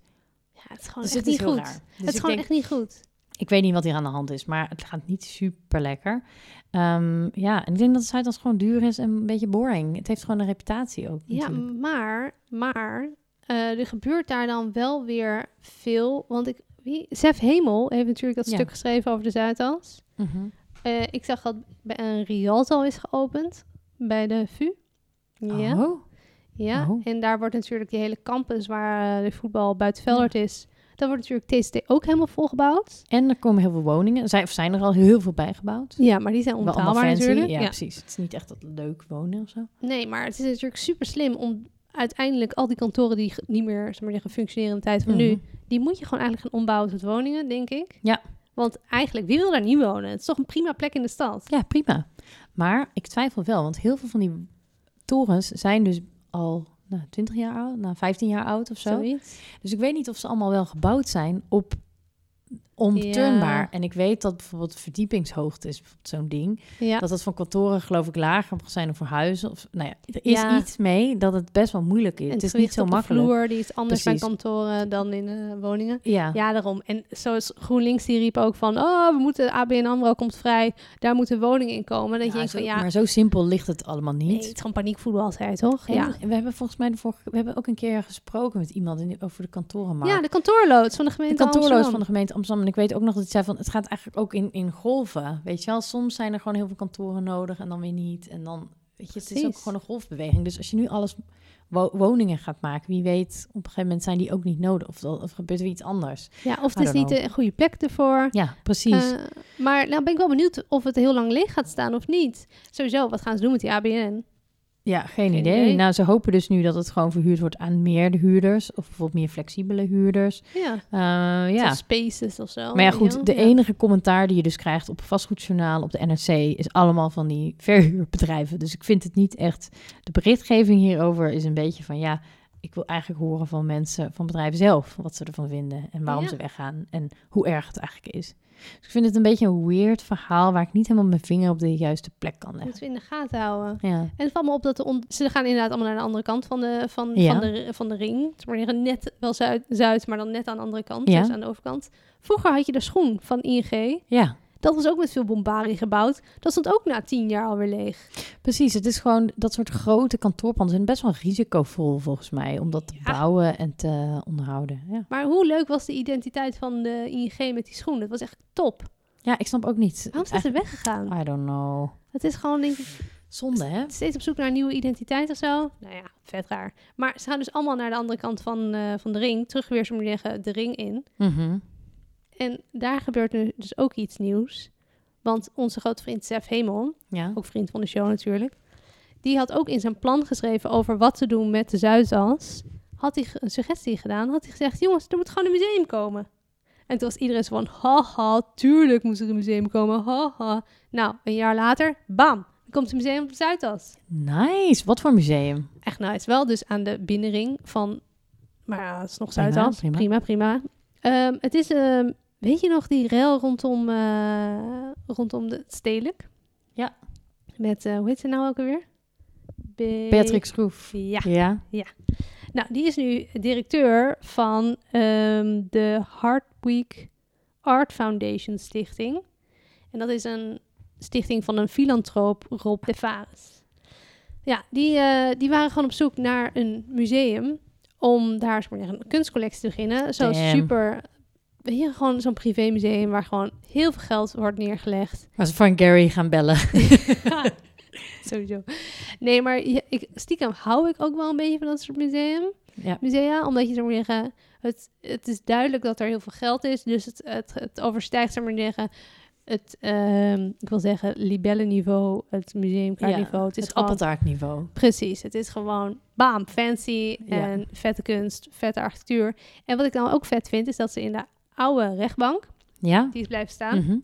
Speaker 1: Ja, het is gewoon
Speaker 2: Dus
Speaker 1: Oh, echt
Speaker 2: het
Speaker 1: niet
Speaker 2: is heel
Speaker 1: goed.
Speaker 2: raar. Dus
Speaker 1: het is
Speaker 2: ik
Speaker 1: gewoon
Speaker 2: denk-
Speaker 1: echt niet goed.
Speaker 2: ik weet niet wat hier aan de hand is, maar het gaat niet super lekker. Ehm, ja, en ik denk dat Zuidas gewoon duur is en een beetje boring. Het heeft gewoon een reputatie ook.
Speaker 1: Ja,
Speaker 2: natuurlijk.
Speaker 1: maar, maar eh, er gebeurt daar dan wel weer veel. Want ik, wie? Zef Hemel heeft natuurlijk dat
Speaker 2: Ja.
Speaker 1: stuk geschreven over de Zuidas.
Speaker 2: Mhm.
Speaker 1: Eh, ik zag dat bij een Rialto is geopend bij de VU. Ja,
Speaker 2: Oh,
Speaker 1: ja.
Speaker 2: oh.
Speaker 1: en daar wordt natuurlijk die hele campus waar eh, de voetbal buitenveldert is. Daar wordt natuurlijk TCT ook helemaal volgebouwd.
Speaker 2: En er komen heel veel woningen. Zijn, of zijn er al heel veel bijgebouwd?
Speaker 1: Ja, maar die zijn
Speaker 2: Wel allemaal
Speaker 1: onbetaalbaar natuurlijk.
Speaker 2: Ja,
Speaker 1: Ja.
Speaker 2: precies. Het is niet echt dat leuk wonen of zo.
Speaker 1: Nee, maar het is natuurlijk super slim om uiteindelijk al die kantoren die ge- niet meer zeg maar, zeggen, functioneren in de tijd van nu,
Speaker 2: Mhm.
Speaker 1: die moet je gewoon eigenlijk gaan ombouwen tot woningen, denk ik.
Speaker 2: Ja.
Speaker 1: Want eigenlijk, wie wil daar niet wonen? Het is toch een prima plek in de stad.
Speaker 2: Ja, prima. Maar ik twijfel wel, want heel veel van die torens zijn dus al nou, 20 jaar oud, nou, 15 jaar oud of zo.
Speaker 1: Zoiets.
Speaker 2: Dus ik weet niet of ze allemaal wel gebouwd zijn op onbeturnbaar.
Speaker 1: Ja.
Speaker 2: En ik weet dat bijvoorbeeld verdiepingshoogte is bijvoorbeeld zo'n ding.
Speaker 1: Ja.
Speaker 2: Dat dat van kantoren geloof ik lager mag zijn dan voor huizen. Of, nou ja, er is
Speaker 1: Ja.
Speaker 2: iets mee dat het best wel moeilijk is.
Speaker 1: En
Speaker 2: het is niet
Speaker 1: gewicht
Speaker 2: zo
Speaker 1: op de
Speaker 2: makkelijk.
Speaker 1: vloer, die is anders bij
Speaker 2: Precies.
Speaker 1: kantoren dan in eh, woningen.
Speaker 2: Ja.
Speaker 1: Ja, daarom. En zoals GroenLinks die riep ook van... oh, we moeten, ABN AMRO komt vrij, daar moeten woningen in komen. Dat
Speaker 2: Ja,
Speaker 1: je denkt
Speaker 2: zo-
Speaker 1: van, ja,
Speaker 2: Maar zo simpel ligt het allemaal
Speaker 1: nee,
Speaker 2: niet.
Speaker 1: het is gewoon paniekvoetbal, zei hij toch?
Speaker 2: En
Speaker 1: Ja.
Speaker 2: we hebben volgens mij de vorige, we hebben ook een keer gesproken met iemand in- over de kantorenmarkt.
Speaker 1: ja, de kantoorloods van de
Speaker 2: de
Speaker 1: gemeente
Speaker 2: kantoorloos
Speaker 1: Amsterdam.
Speaker 2: van de gemeente Amsterdam. En ik weet ook nog dat het zei van, het gaat eigenlijk ook in, in golven. Weet je wel, soms zijn er gewoon heel veel kantoren nodig en dan weer niet. En dan, weet je, het is ook
Speaker 1: Precies.
Speaker 2: gewoon een golfbeweging. Dus als je nu alles wo- woningen gaat maken, wie weet, op een gegeven moment zijn die ook niet nodig. Of, dan- of gebeurt er iets anders.
Speaker 1: Ja, of het
Speaker 2: I
Speaker 1: is
Speaker 2: don't
Speaker 1: niet
Speaker 2: know.
Speaker 1: een goede plek ervoor.
Speaker 2: Ja, precies.
Speaker 1: Eh, maar nou ben ik wel benieuwd of het heel lang leeg gaat staan of niet. Sowieso, wat gaan ze doen met die ABN?
Speaker 2: ja, geen,
Speaker 1: geen
Speaker 2: idee.
Speaker 1: idee.
Speaker 2: Nou, ze hopen dus nu dat het gewoon verhuurd wordt aan meer huurders. Of bijvoorbeeld meer flexibele huurders.
Speaker 1: Ja,
Speaker 2: Eh,
Speaker 1: ja.
Speaker 2: ja.
Speaker 1: spaces of zo.
Speaker 2: Maar ja,
Speaker 1: weet je
Speaker 2: goed,
Speaker 1: wel?
Speaker 2: de
Speaker 1: Ja.
Speaker 2: enige commentaar die je dus krijgt op vastgoedjournaal, op de NRC, is allemaal van die verhuurbedrijven. Dus ik vind het niet echt. De berichtgeving hierover is een beetje van ja, ik wil eigenlijk horen van mensen, van bedrijven zelf, wat ze ervan vinden en waarom
Speaker 1: Ja.
Speaker 2: ze weggaan en hoe erg het eigenlijk is. Dus ik vind het een beetje een weird verhaal waar ik niet helemaal mijn vinger op de juiste plek kan leggen.
Speaker 1: Moeten we in de gaten houden.
Speaker 2: Ja,
Speaker 1: En het valt me op dat de on- ze gaan inderdaad allemaal naar de andere kant van de, van,
Speaker 2: Ja.
Speaker 1: van de, van de ring. Ze worden net wel zuid, zuid, maar dan net aan de andere kant,
Speaker 2: Ja.
Speaker 1: dus aan de overkant. Vroeger had je de schoen van ING.
Speaker 2: ja.
Speaker 1: Dat was ook met veel bombarie gebouwd. Dat stond ook na tien jaar alweer leeg.
Speaker 2: Precies, het is gewoon dat soort grote kantoorpanden zijn best wel risicovol volgens mij om dat te
Speaker 1: Ja.
Speaker 2: bouwen en te onderhouden. Ja.
Speaker 1: Maar hoe leuk was de identiteit van de ING met die schoen? Dat was echt top.
Speaker 2: ja, ik snap ook niet.
Speaker 1: Waarom zijn ze weggegaan?
Speaker 2: I don't know.
Speaker 1: Het is gewoon denk ik,
Speaker 2: Zonde, hè?
Speaker 1: steeds op zoek naar een nieuwe identiteit of zo. Nou ja, vet raar. Maar ze gaan dus allemaal naar de andere kant van, eh, van de ring. Terug weer, zo maar zeggen, de ring in.
Speaker 2: Mhm.
Speaker 1: En daar gebeurt nu dus ook iets nieuws. Want onze grote vriend Sef Hemel,
Speaker 2: Ja.
Speaker 1: ook vriend van de show natuurlijk, die had ook in zijn plan geschreven over wat te doen met de Zuidas. Had hij ge- een suggestie gedaan, had hij gezegd, jongens, er moet gewoon een museum komen. En toen was iedereen zo van, haha, tuurlijk moet er een museum komen, haha. Nou, een jaar later, bam, er komt een museum op de Zuidas.
Speaker 2: Nice. Wat voor museum?
Speaker 1: Echt nice. Wel dus aan de binnenring van... Maar ja, het is nog
Speaker 2: Prima,
Speaker 1: Zuidas.
Speaker 2: prima.
Speaker 1: Prima, prima. Ehm, het is... ehm, weet je nog die rel rondom, eh, rondom de, het stedelijk?
Speaker 2: Ja.
Speaker 1: Met, eh, hoe heet ze nou ook alweer? Be-
Speaker 2: Beatrix Groef.
Speaker 1: Ja.
Speaker 2: Ja.
Speaker 1: Nou, die is nu directeur van ehm, de Hard Week Art Foundation Stichting. En dat is een stichting van een filantroop, Rob de Vares. Ja, die, eh, die waren gewoon op zoek naar een museum om daar zeg maar, een kunstcollectie te beginnen. Zo
Speaker 2: Damn.
Speaker 1: super, weet je, gewoon zo'n privémuseum waar gewoon heel veel geld wordt neergelegd.
Speaker 2: Waar ze Frank Gary gaan bellen.
Speaker 1: Sowieso. Nee, maar je- ik, stiekem hou ik ook wel een beetje van dat soort museum
Speaker 2: Ja.
Speaker 1: musea. Omdat je zo maar zeggen, het, het is duidelijk dat er heel veel geld is. Dus het, het, het overstijgt zo maar zeggen. Het, ehm, ik wil zeggen, libellenniveau, het museumkaartniveau. het is
Speaker 2: het
Speaker 1: gewoon,
Speaker 2: appeltaartniveau.
Speaker 1: precies, het is gewoon, bam, fancy
Speaker 2: Ja.
Speaker 1: en vette kunst, vette architectuur. En wat ik dan ook vet vind, is dat ze in de oude rechtbank,
Speaker 2: Ja.
Speaker 1: die is blijven staan,
Speaker 2: Mhm.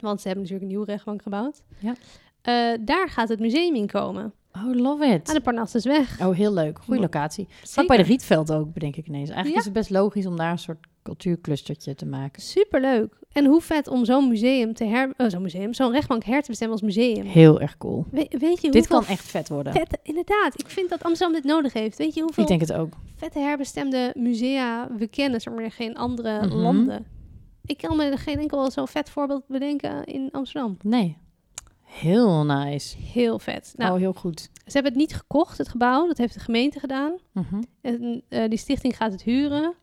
Speaker 1: want ze hebben natuurlijk een nieuwe rechtbank gebouwd.
Speaker 2: Ja.
Speaker 1: Eh, daar gaat het museum in komen.
Speaker 2: Oh, love it.
Speaker 1: Aan de Parnassusweg.
Speaker 2: Oh, heel leuk. Goede
Speaker 1: Mo-
Speaker 2: locatie. Vlak
Speaker 1: Zeker.
Speaker 2: bij de Rietveld ook, bedenk ik ineens. Eigenlijk
Speaker 1: Ja.
Speaker 2: is het best logisch om daar een soort cultuurclustertje te maken.
Speaker 1: Superleuk. En hoe vet om zo'n museum te her... oh, zo'n museum, zo'n rechtbank her te bestemmen als museum.
Speaker 2: Heel erg cool.
Speaker 1: We- weet je
Speaker 2: Dit
Speaker 1: hoeveel
Speaker 2: kan echt vet worden.
Speaker 1: vette... Inderdaad, ik vind dat Amsterdam dit nodig heeft. Weet je hoeveel
Speaker 2: Ik denk het ook.
Speaker 1: vette herbestemde musea we kennen, zeg maar, in geen andere
Speaker 2: Mhm.
Speaker 1: landen. Ik kan me er geen enkel zo'n vet voorbeeld bedenken in Amsterdam.
Speaker 2: Nee. Heel nice.
Speaker 1: Heel vet. Nou,
Speaker 2: oh, heel goed.
Speaker 1: ze hebben het niet gekocht, het gebouw. Dat heeft de gemeente gedaan.
Speaker 2: Mhm.
Speaker 1: En eh, die stichting gaat het huren.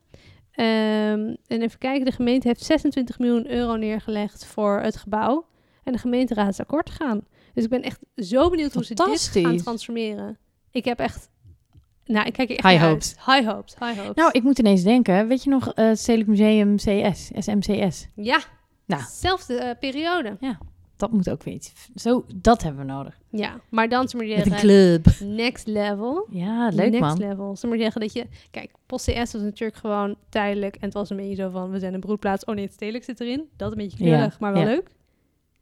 Speaker 1: Ehm, en even kijken, de gemeente heeft 26 miljoen euro neergelegd voor het gebouw. En de gemeenteraad is akkoord gegaan. Dus ik ben echt zo benieuwd hoe ze dit gaan
Speaker 2: Fantastisch.
Speaker 1: transformeren. Ik heb echt... Nou, ik kijk er echt
Speaker 2: High
Speaker 1: naar
Speaker 2: hopes.
Speaker 1: uit. High hopes. High hopes.
Speaker 2: Nou, ik moet ineens denken. Weet je nog eh, het Stedelijk Museum CS, SMCS?
Speaker 1: Ja,
Speaker 2: Nou.
Speaker 1: zelfde eh, periode.
Speaker 2: Dat moet ook weer iets. Zo, dat hebben we nodig.
Speaker 1: Ja, maar dan zullen we
Speaker 2: Met een
Speaker 1: zeggen,
Speaker 2: club.
Speaker 1: next level.
Speaker 2: Ja, Ah, leuk
Speaker 1: next
Speaker 2: man.
Speaker 1: level. Ze maar zeggen dat je... Kijk, post CS was natuurlijk gewoon tijdelijk. En het was een beetje zo van, we zijn een broedplaats. Oh nee, het stedelijk zit erin. Dat een beetje
Speaker 2: Ja,
Speaker 1: knullig, maar wel
Speaker 2: ja.
Speaker 1: leuk.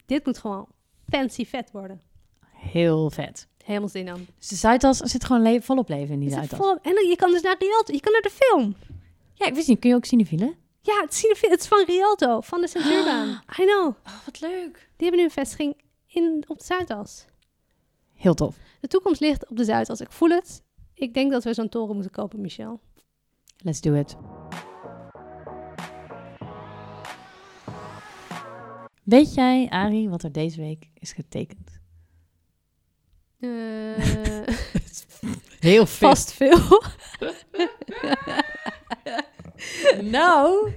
Speaker 1: Dit moet gewoon fancy vet worden.
Speaker 2: Heel vet.
Speaker 1: Helemaal zin aan.
Speaker 2: Dus de Zuidas er zit gewoon le- volop leven in die
Speaker 1: Het zit
Speaker 2: Zuidas.
Speaker 1: volop- en dan- je kan dus naar Rialto. Je kan naar de film.
Speaker 2: Ja, ik wist niet. Kun je ook cinefielen?
Speaker 1: Ja, het, zien- het is van Rialto. Van de Centuurbaan. I know.
Speaker 2: Oh, wat leuk.
Speaker 1: Die hebben nu een vestiging in, op de Zuidas.
Speaker 2: Heel tof.
Speaker 1: De toekomst ligt op de Zuidas. Ik voel het. Ik denk dat we zo'n toren moeten kopen, Michel.
Speaker 2: Let's do it. Weet jij, Ari, wat er deze week is getekend?
Speaker 1: Eh,
Speaker 2: Heel
Speaker 1: vast veel.
Speaker 2: Nou.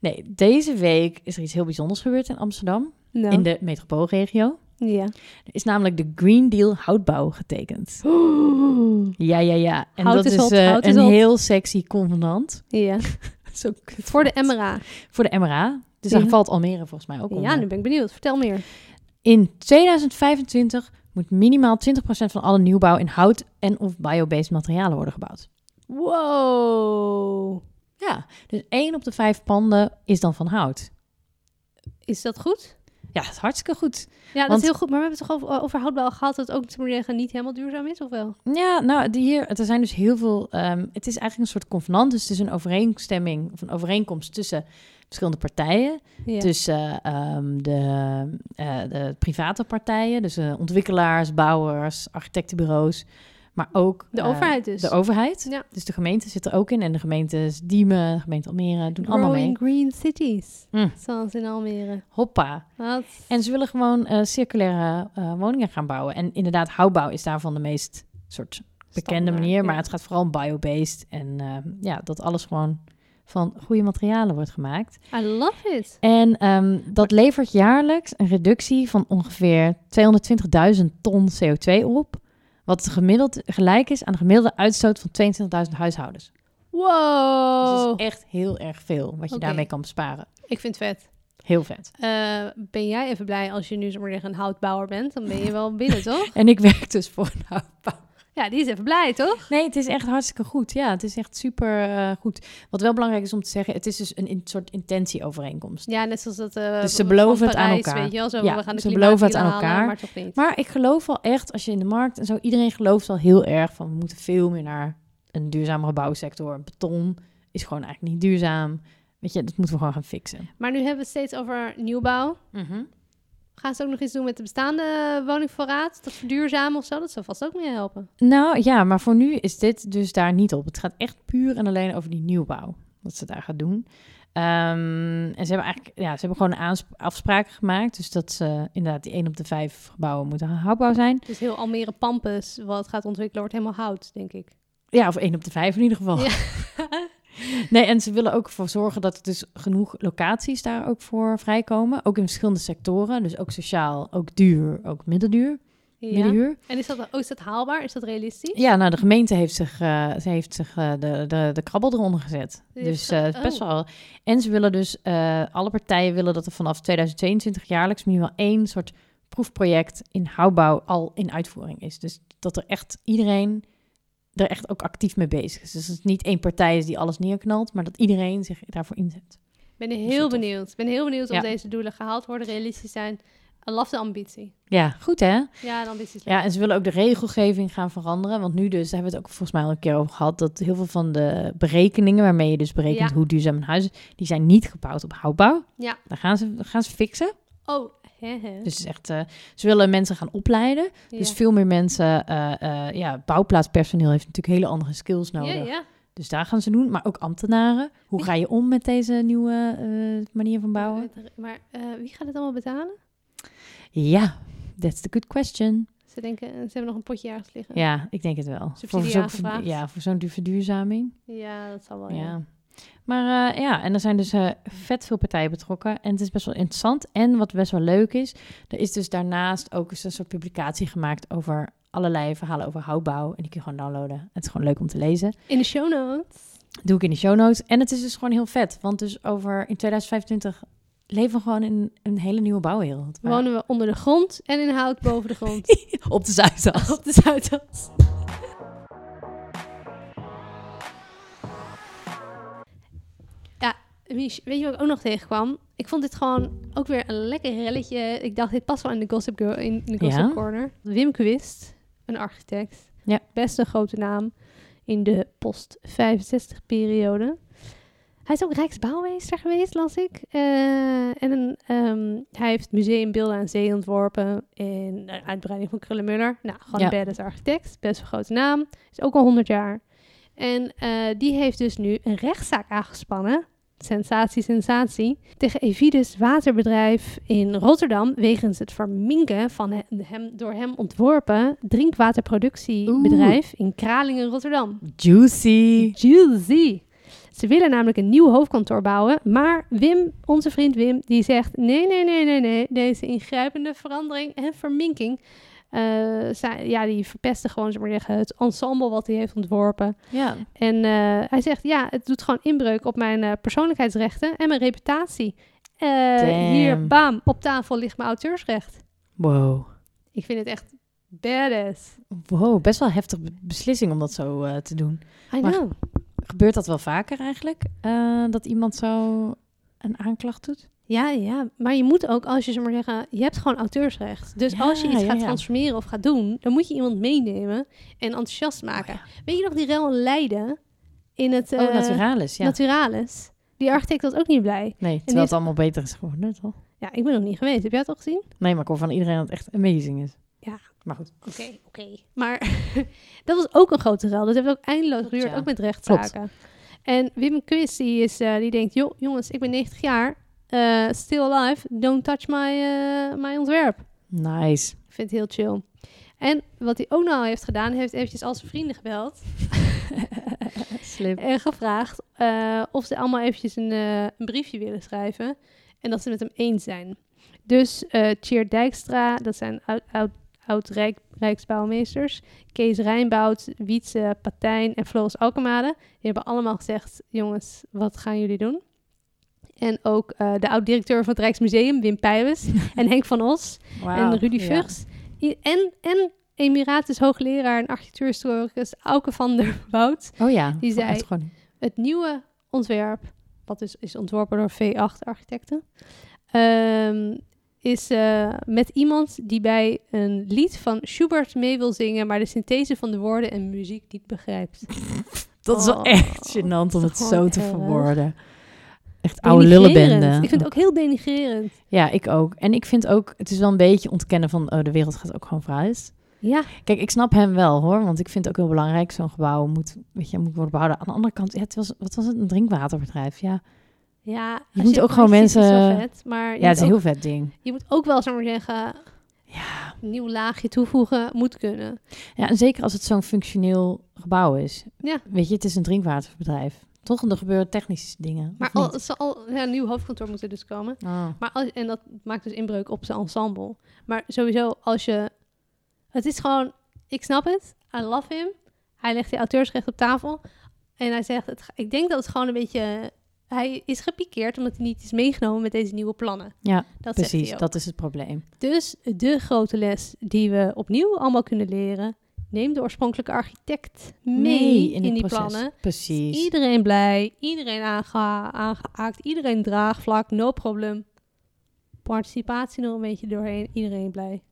Speaker 2: Nee, deze week is er iets heel bijzonders gebeurd in Amsterdam,
Speaker 1: Nou,
Speaker 2: in de metropoolregio.
Speaker 1: ja.
Speaker 2: Er is namelijk de Green Deal houtbouw getekend. Ja, ja, ja. En
Speaker 1: Hout
Speaker 2: dat
Speaker 1: is
Speaker 2: is,
Speaker 1: hot,
Speaker 2: eh,
Speaker 1: hout is
Speaker 2: een
Speaker 1: hot.
Speaker 2: heel sexy convenant.
Speaker 1: Ja,
Speaker 2: Zo
Speaker 1: voor de MRA.
Speaker 2: Voor de MRA. Dus
Speaker 1: Ja.
Speaker 2: daar valt Almere volgens mij ook onder.
Speaker 1: Ja, nu ben ik benieuwd. Vertel meer.
Speaker 2: In 2025 moet minimaal 20% van alle nieuwbouw in hout en of biobased materialen worden gebouwd.
Speaker 1: Wow.
Speaker 2: Ja, dus 1 op de 5 panden is dan van hout.
Speaker 1: Is dat goed?
Speaker 2: Ja, dat is hartstikke goed.
Speaker 1: Ja, dat
Speaker 2: Want-
Speaker 1: is heel goed. Maar we hebben het toch over, over houtbouw gehad dat het ook te maar zeggen, niet helemaal duurzaam is, of wel?
Speaker 2: Ja, nou, die hier, er zijn dus heel veel... ehm, het is eigenlijk een soort convenant, dus het is een overeenstemming... of een overeenkomst tussen verschillende partijen.
Speaker 1: Ja.
Speaker 2: Tussen ehm, de, eh, de private partijen, dus eh, ontwikkelaars, bouwers, architectenbureaus... maar ook...
Speaker 1: de
Speaker 2: eh,
Speaker 1: overheid dus.
Speaker 2: De overheid.
Speaker 1: Ja.
Speaker 2: Dus de gemeente zit er ook in. En de gemeentes Diemen, de gemeente Almere doen allemaal mee.
Speaker 1: Growing green cities,
Speaker 2: Hm.
Speaker 1: zoals in Almere.
Speaker 2: Hoppa.
Speaker 1: Wat?
Speaker 2: En ze willen gewoon eh, circulaire eh, woningen gaan bouwen. En inderdaad, houtbouw is daarvan de meest soort bekende
Speaker 1: Standaard,
Speaker 2: manier. Maar
Speaker 1: ja.
Speaker 2: het gaat vooral om biobased. En eh, ja, dat alles gewoon van goede materialen wordt gemaakt.
Speaker 1: I love it.
Speaker 2: En ehm, dat levert jaarlijks een reductie van ongeveer 220.000 ton CO2 op. Wat gemiddeld gelijk is aan de gemiddelde uitstoot van 22.000 huishoudens. Dus
Speaker 1: Wow.
Speaker 2: het is echt heel erg veel wat je
Speaker 1: Oh. Oké.
Speaker 2: daarmee kan besparen.
Speaker 1: Ik vind het vet.
Speaker 2: Heel vet.
Speaker 1: Eh, ben jij even blij als je nu zomaar zeggen een houtbouwer bent? Dan ben je wel binnen, toch?
Speaker 2: En ik werk dus voor een houtbouw.
Speaker 1: Ja, die is even blij, toch?
Speaker 2: Nee, het is echt hartstikke goed. Ja, het is echt super eh, goed. Wat wel belangrijk is om te zeggen, het is dus een in- soort intentieovereenkomst.
Speaker 1: Ja, net zoals dat. eh,
Speaker 2: Dus ze
Speaker 1: van
Speaker 2: beloven het aan
Speaker 1: Parijs,
Speaker 2: elkaar.
Speaker 1: Weet je wel, zo,
Speaker 2: Ja,
Speaker 1: we gaan de
Speaker 2: ze beloven het
Speaker 1: klimaatdeal
Speaker 2: aan
Speaker 1: halen,
Speaker 2: elkaar.
Speaker 1: maar toch niet.
Speaker 2: Maar ik geloof wel echt, als je in de markt en zo, iedereen gelooft wel heel erg van we moeten veel meer naar een duurzamere bouwsector. Beton is gewoon eigenlijk niet duurzaam. Weet je, dat moeten we gewoon gaan fixen.
Speaker 1: Maar nu hebben we het steeds over nieuwbouw. Gaan ze ook nog iets doen met de bestaande woningvoorraad? Dat verduurzamen of zo? Dat zou vast ook mee helpen.
Speaker 2: Nou ja, maar voor nu is dit dus daar niet op. Het gaat echt puur en alleen over die nieuwbouw. Wat ze daar gaat doen. Ehm, en ze hebben eigenlijk, ja, ze hebben gewoon aansp- afspraken gemaakt. Dus dat ze inderdaad die 1 op de 5 gebouwen moeten houdbaar zijn.
Speaker 1: Dus heel Almere Pampus, wat gaat ontwikkelen, wordt helemaal hout, denk ik.
Speaker 2: Ja, of 1 op de 5 in ieder geval.
Speaker 1: Ja.
Speaker 2: Nee, en ze willen ook ervoor zorgen dat er dus genoeg locaties daar ook voor vrijkomen. Ook in verschillende sectoren. Dus ook sociaal, ook duur, ook middenduur,
Speaker 1: Ja.
Speaker 2: middenhuur.
Speaker 1: En is dat, oh, is dat haalbaar? Is dat realistisch?
Speaker 2: Ja, nou, de gemeente heeft zich, eh, ze heeft zich eh, de, de, de krabbel eronder gezet.
Speaker 1: Die heeft
Speaker 2: dus
Speaker 1: ge-
Speaker 2: eh, het is best
Speaker 1: oh.
Speaker 2: wel. En ze willen dus, eh, alle partijen willen dat er vanaf 2022 jaarlijks minimaal één soort proefproject in houtbouw al in uitvoering is. Dus dat er echt iedereen er echt ook actief mee bezig is. Dus dat het niet één partij is die alles neerknalt, maar dat iedereen zich daarvoor inzet.
Speaker 1: Ik ben
Speaker 2: is wel
Speaker 1: heel
Speaker 2: tof.
Speaker 1: benieuwd. Ik ben heel benieuwd of
Speaker 2: Ja.
Speaker 1: deze doelen gehaald worden, realistisch zijn. I love de ambitie.
Speaker 2: Ja, goed hè?
Speaker 1: Ja, de ambitie is leuk.
Speaker 2: Ja, en ze willen ook de regelgeving gaan veranderen. Want nu dus, daar hebben we het ook volgens mij al een keer over gehad... dat heel veel van de berekeningen waarmee je dus berekent
Speaker 1: Ja.
Speaker 2: hoe duurzaam een huis is... die zijn niet gebouwd op houtbouw.
Speaker 1: Ja.
Speaker 2: Daar gaan ze, daar gaan ze fixen.
Speaker 1: Oh, hè, hè.
Speaker 2: Dus het is echt, eh, ze willen mensen gaan opleiden.
Speaker 1: Ja.
Speaker 2: Dus veel meer mensen... eh, eh, ja, bouwplaatspersoneel heeft natuurlijk hele andere skills nodig.
Speaker 1: Ja, ja.
Speaker 2: Dus daar gaan ze doen. Maar ook ambtenaren. Hoe
Speaker 1: Wie-
Speaker 2: ga je om met deze nieuwe eh, manier van bouwen?
Speaker 1: Maar eh, wie gaat het allemaal betalen?
Speaker 2: Ja, that's the good question.
Speaker 1: Ze denken, ze hebben nog een potje ergens liggen.
Speaker 2: Ja, ik denk het wel.
Speaker 1: Subsidie
Speaker 2: zo'n-
Speaker 1: aangevraagd.
Speaker 2: ja, voor zo'n verduurzaming.
Speaker 1: Ja, dat zal wel. Ja.
Speaker 2: Oh, Ja. Maar eh, ja, en er zijn dus eh, vet veel partijen betrokken. En het is best wel interessant. En wat best wel leuk is, er is dus daarnaast ook eens een soort publicatie gemaakt over allerlei verhalen over houtbouw. En die kun je gewoon downloaden. Het is gewoon leuk om te lezen.
Speaker 1: In de show notes.
Speaker 2: Doe ik in de show notes. En het is dus gewoon heel vet. Want dus over in 2025 leven we gewoon in een hele nieuwe bouwwereld. Waar-
Speaker 1: Wonen we onder de grond en in hout boven de grond.
Speaker 2: op de Zuidas.
Speaker 1: op de Zuidas. Ja, Mich, weet je wat ik ook nog tegenkwam? Ik vond dit gewoon ook weer een lekker relletje. Ik dacht, dit past wel in de Gossip Girl, in de Gossip
Speaker 2: Ja.
Speaker 1: Corner. Wim Quist, een architect.
Speaker 2: Ja.
Speaker 1: Best een grote naam in de post-65-periode. Hij is ook Rijksbouwmeester geweest, las ik. Eh, en een, ehm, hij heeft museum Beelden aan Zee ontworpen. En de uitbreiding van Krullenmuller. Nou, gewoon
Speaker 2: Ja.
Speaker 1: een badass architect. Best een grote naam. Is ook al 100 jaar. En eh, die heeft dus nu een rechtszaak aangespannen. Sensatie, sensatie. Tegen Evides waterbedrijf in Rotterdam. wegens het verminken van he- hem, door hem ontworpen drinkwaterproductiebedrijf in Kralingen, Rotterdam.
Speaker 2: Juicy.
Speaker 1: Juicy. Ze willen namelijk een nieuw hoofdkantoor bouwen, maar Wim, onze vriend Wim, die zegt nee, nee, nee, nee, nee, deze ingrijpende verandering en verminking, eh, zijn, ja, die verpesten gewoon, zeg maar zeggen, het ensemble wat hij heeft ontworpen.
Speaker 2: Ja.
Speaker 1: En eh, hij zegt, ja, het doet gewoon inbreuk op mijn eh, persoonlijkheidsrechten en mijn reputatie. Eh,
Speaker 2: Damn.
Speaker 1: hier, bam, op tafel ligt mijn auteursrecht.
Speaker 2: Wow.
Speaker 1: Ik vind het echt badass.
Speaker 2: Wow, best wel heftig be- beslissing om dat zo eh, te doen.
Speaker 1: I
Speaker 2: Maar-
Speaker 1: know.
Speaker 2: Gebeurt dat wel vaker eigenlijk? Eh, dat iemand zo een aanklacht doet?
Speaker 1: Ja, ja, maar je moet ook, als je ze maar zeggen, je hebt gewoon auteursrecht. Dus
Speaker 2: Ja,
Speaker 1: als je iets
Speaker 2: ja,
Speaker 1: gaat
Speaker 2: ja.
Speaker 1: transformeren of gaat doen, dan moet je iemand meenemen en enthousiast maken.
Speaker 2: Oh,
Speaker 1: Weet je nog die rel in Leiden in het eh,
Speaker 2: oh, naturalis, ja.
Speaker 1: Naturalis? Die architect was ook niet blij.
Speaker 2: nee,
Speaker 1: die
Speaker 2: terwijl het allemaal beter is geworden, toch?
Speaker 1: Ja, ik ben nog niet geweest. Heb jij het al gezien?
Speaker 2: Nee, maar ik hoor van iedereen dat het echt amazing is.
Speaker 1: Ja.
Speaker 2: Maar goed.
Speaker 1: Oké, oké. Maar dat was ook een grote rel. Dat hebben we ook eindeloos
Speaker 2: Klopt,
Speaker 1: geduurd,
Speaker 2: ja.
Speaker 1: ook met rechtszaken. En Wim Quist, die, is, eh, die denkt, joh, jongens, ik ben 90 jaar, eh, still alive, don't touch my, eh, my ontwerp.
Speaker 2: Nice.
Speaker 1: Ik vind het heel chill. En wat hij ook nou heeft gedaan, hij heeft eventjes al zijn vrienden gebeld
Speaker 2: Slim.
Speaker 1: en gevraagd eh, of ze allemaal eventjes een, eh, een briefje willen schrijven en dat ze het met hem eens zijn. Dus eh Tjeerd Dijkstra, dat zijn oud, oud, oud Rijk, Rijksbouwmeesters, Kees Rijnboud, Wietse Patijn en Floris Alkemade, die hebben allemaal gezegd, jongens, wat gaan jullie doen? En ook eh, de oud-directeur van het Rijksmuseum, Wim Pijwes, en Henk van Os, en Rudy Vugs. I- En, en Emiratus hoogleraar en architectuurhistoricus Auke van der Woud.
Speaker 2: Oh ja.
Speaker 1: Die zei-
Speaker 2: Echt gewoon-
Speaker 1: Het nieuwe ontwerp, wat dus is ontworpen door V8 architecten, ehm, is eh, met iemand die bij een lied van Schubert mee wil zingen, maar de synthese van de woorden en muziek niet begrijpt.
Speaker 2: Dat is wel
Speaker 1: Oh,
Speaker 2: echt gênant om
Speaker 1: dat
Speaker 2: het
Speaker 1: is
Speaker 2: zo
Speaker 1: gewoon
Speaker 2: te
Speaker 1: erg.
Speaker 2: verwoorden. Echt oude lullenbende.
Speaker 1: Denigrerend. Ik vind het ook heel denigrerend.
Speaker 2: Ja, ik ook. En ik vind ook, het is wel een beetje ontkennen van oh, de wereld gaat ook gewoon vooruit.
Speaker 1: Ja,
Speaker 2: Kijk, ik snap hem wel hoor, want ik vind het ook heel belangrijk. Zo'n gebouw moet, weet je, moet worden behouden. Aan de andere kant, ja, het was, wat was het? Een drinkwaterbedrijf. Ja,
Speaker 1: ja. als
Speaker 2: moet
Speaker 1: het
Speaker 2: ook gewoon
Speaker 1: ziet, is het wel
Speaker 2: mensen-
Speaker 1: vet, maar je,
Speaker 2: ja het
Speaker 1: moet
Speaker 2: is een
Speaker 1: ook,
Speaker 2: heel vet ding.
Speaker 1: je moet ook wel, zou ik maar zeggen,
Speaker 2: Ja.
Speaker 1: een nieuw laagje toevoegen, moet kunnen.
Speaker 2: ja, en zeker als het zo'n functioneel gebouw is.
Speaker 1: Ja.
Speaker 2: Weet je, het is een drinkwaterbedrijf. Toch, er gebeuren technische dingen.
Speaker 1: Maar
Speaker 2: of niet?
Speaker 1: al, het zal al, ja, een nieuw hoofdkantoor moet er dus komen.
Speaker 2: Oh.
Speaker 1: Maar als, en dat maakt dus inbreuk op zijn ensemble. Maar sowieso, als je... Het is gewoon... Ik snap het. I love him. Hij legt die auteursrecht op tafel. En hij zegt... Het, ik denk dat het gewoon een beetje... Hij is gepikeerd omdat hij niet is meegenomen met deze nieuwe plannen.
Speaker 2: Ja,
Speaker 1: dat zegt hij
Speaker 2: Precies,
Speaker 1: ook.
Speaker 2: dat is het probleem.
Speaker 1: Dus de grote les die we opnieuw allemaal kunnen leren... Neem de oorspronkelijke architect mee in,
Speaker 2: het
Speaker 1: die
Speaker 2: proces.
Speaker 1: plannen.
Speaker 2: Precies.
Speaker 1: Iedereen blij, iedereen aangeha- aangehaakt, iedereen draagvlak, no problem. participatie nog een beetje doorheen. Iedereen blij.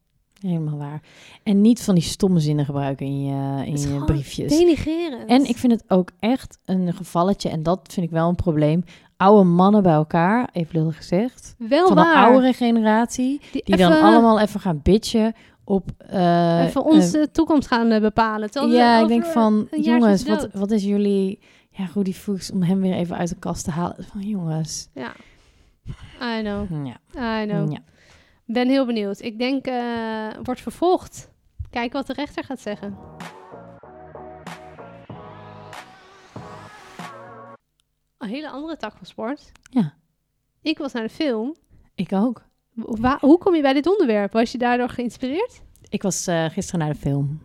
Speaker 2: Helemaal waar. En niet van die stomme zinnen gebruiken in je, in
Speaker 1: Het is
Speaker 2: je
Speaker 1: gewoon
Speaker 2: briefjes.
Speaker 1: Denigrerend.
Speaker 2: En ik vind het ook echt een gevalletje, en dat vind ik wel een probleem. Oude mannen bij elkaar, even lullig gezegd.
Speaker 1: Wel
Speaker 2: van
Speaker 1: waar.
Speaker 2: de oudere generatie. Die dan
Speaker 1: even-
Speaker 2: allemaal even gaan bitchen op... eh,
Speaker 1: even onze
Speaker 2: eh,
Speaker 1: toekomst gaan eh, bepalen. Terwijl we
Speaker 2: ja, ik
Speaker 1: over
Speaker 2: denk van,
Speaker 1: een jaar zijn
Speaker 2: jongens,
Speaker 1: ze
Speaker 2: wat,
Speaker 1: dood.
Speaker 2: wat is jullie... Ja, Rudy Fuchs, om hem weer even uit de kast te halen. Van, jongens.
Speaker 1: Ja. I know,
Speaker 2: Ja,
Speaker 1: I know.
Speaker 2: ja.
Speaker 1: Ben heel benieuwd. Ik denk, eh wordt vervolgd. Kijk wat de rechter gaat zeggen. Een hele andere tak van sport.
Speaker 2: Ja.
Speaker 1: Ik was naar de film.
Speaker 2: Ik ook.
Speaker 1: Wa- wa- hoe kom je bij dit onderwerp? Was je daardoor geïnspireerd?
Speaker 2: Ik was eh, gisteren naar de film.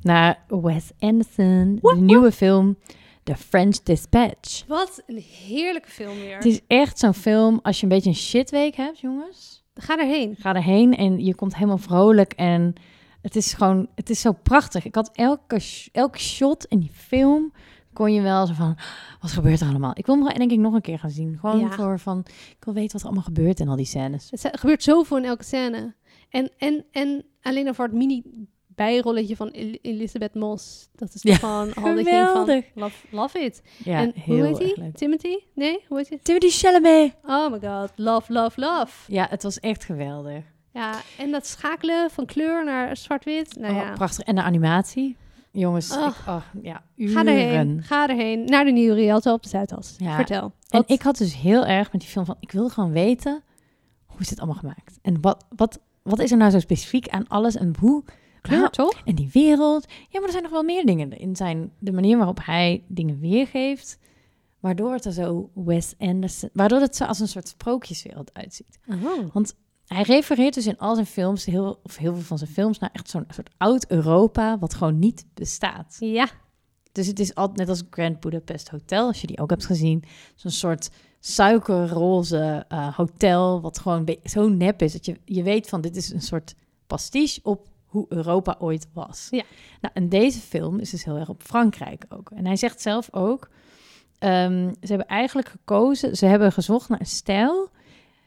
Speaker 2: Naar Wes Anderson.
Speaker 1: Woep,
Speaker 2: de nieuwe film The French Dispatch.
Speaker 1: Wat een heerlijke film weer.
Speaker 2: Het is echt zo'n film, als je een beetje een shitweek hebt, jongens.
Speaker 1: Ga daarheen.
Speaker 2: Ga erheen en je komt helemaal vrolijk en het is gewoon, het is zo prachtig. Ik had elke, sh- elk shot in die film, kon je wel zo van, wat gebeurt er allemaal? Ik wil hem gewoon, denk ik nog een keer gaan zien. Gewoon
Speaker 1: Ja.
Speaker 2: voor van, ik wil weten wat er allemaal gebeurt in al die scènes.
Speaker 1: Het zi- gebeurt zoveel in elke scène. En, en, en alleen al voor het mini bijrolletje van El- Elizabeth Moss. Dat is
Speaker 2: Ja.
Speaker 1: gewoon al dat je denkt van,
Speaker 2: Geweldig.
Speaker 1: love, love it.
Speaker 2: Ja,
Speaker 1: en
Speaker 2: heel
Speaker 1: hoe heet
Speaker 2: erg
Speaker 1: hij?
Speaker 2: leuk.
Speaker 1: Timothy? Nee, hoe heet hij?
Speaker 2: Timothy Chalamet.
Speaker 1: Oh my god, love, love, love.
Speaker 2: Ja, het was echt geweldig.
Speaker 1: Ja, en dat schakelen van kleur naar zwart-wit. Nou
Speaker 2: Oh,
Speaker 1: ja,
Speaker 2: Prachtig. En de animatie. Jongens,
Speaker 1: Oh.
Speaker 2: ik- oh, ja,
Speaker 1: ga
Speaker 2: uren.
Speaker 1: erheen. Ga erheen. Naar de nieuwe Rialto op de Zuidas.
Speaker 2: Ja.
Speaker 1: Vertel.
Speaker 2: En
Speaker 1: Wat-
Speaker 2: ik had dus heel erg met die film van, ik wil gewoon weten, hoe is dit allemaal gemaakt? En wat, wat, wat is er nou zo specifiek aan alles en hoe?
Speaker 1: kleur,
Speaker 2: Ah,
Speaker 1: toch?
Speaker 2: en die wereld. Ja, maar er zijn nog wel meer dingen in zijn, de manier waarop hij dingen weergeeft. Waardoor het er zo Wes Anderson, waardoor het zo als een soort sprookjeswereld uitziet. Hij refereert dus in al zijn films, heel, of heel veel van zijn films, naar echt zo'n soort oud Europa, wat gewoon niet bestaat.
Speaker 1: Ja,
Speaker 2: Dus het is altijd net als Grand Budapest Hotel, als je die ook hebt gezien. Zo'n soort suikerroze eh, hotel, wat gewoon be- zo nep is. Dat je, je weet van, dit is een soort pastiche op hoe Europa ooit was.
Speaker 1: Ja.
Speaker 2: Nou, en deze film is dus heel erg op Frankrijk ook. En hij zegt zelf ook, ehm, ze hebben eigenlijk gekozen, ze hebben gezocht naar een stijl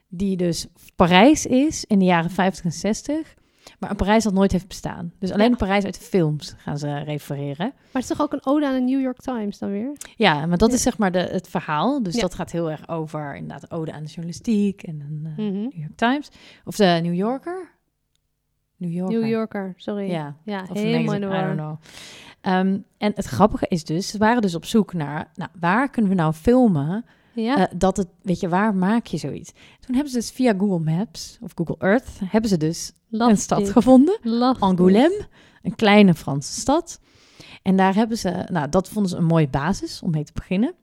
Speaker 2: die dus Parijs is in de jaren 50 en 60. Maar een Parijs dat nooit heeft bestaan. Dus alleen
Speaker 1: Ja.
Speaker 2: een Parijs uit de films gaan ze refereren.
Speaker 1: maar het is toch ook een ode aan de New York Times dan weer?
Speaker 2: Ja, maar dat
Speaker 1: Ja.
Speaker 2: is zeg maar de, het verhaal. Dus
Speaker 1: Ja.
Speaker 2: dat gaat heel erg over inderdaad ode aan de journalistiek en een eh,
Speaker 1: Mhm.
Speaker 2: New York Times. Of de New Yorker. New Yorker.
Speaker 1: New Yorker, sorry.
Speaker 2: Ja.
Speaker 1: Ja,
Speaker 2: Of een
Speaker 1: helemaal in de
Speaker 2: magazine, I don't
Speaker 1: war.
Speaker 2: know. Ehm, en het grappige is dus, ze waren dus op zoek naar, nou, waar kunnen we nou filmen
Speaker 1: Ja.
Speaker 2: eh, dat het, weet je, waar maak je zoiets? Toen hebben ze dus via Google Maps of Google Earth, hebben ze dus
Speaker 1: Love
Speaker 2: een stad
Speaker 1: dit.
Speaker 2: gevonden.
Speaker 1: Love
Speaker 2: Angoulême, een kleine Franse stad. En daar hebben ze, nou, dat vonden ze een mooie basis om mee te beginnen.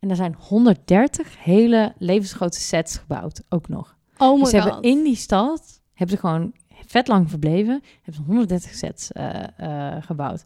Speaker 2: En daar zijn 130 hele levensgrote sets gebouwd, ook nog.
Speaker 1: dit. Oh my
Speaker 2: dus ze hebben
Speaker 1: god.
Speaker 2: in die stad, hebben ze gewoon vet lang verbleven, hebben ze 130 sets eh, eh, gebouwd.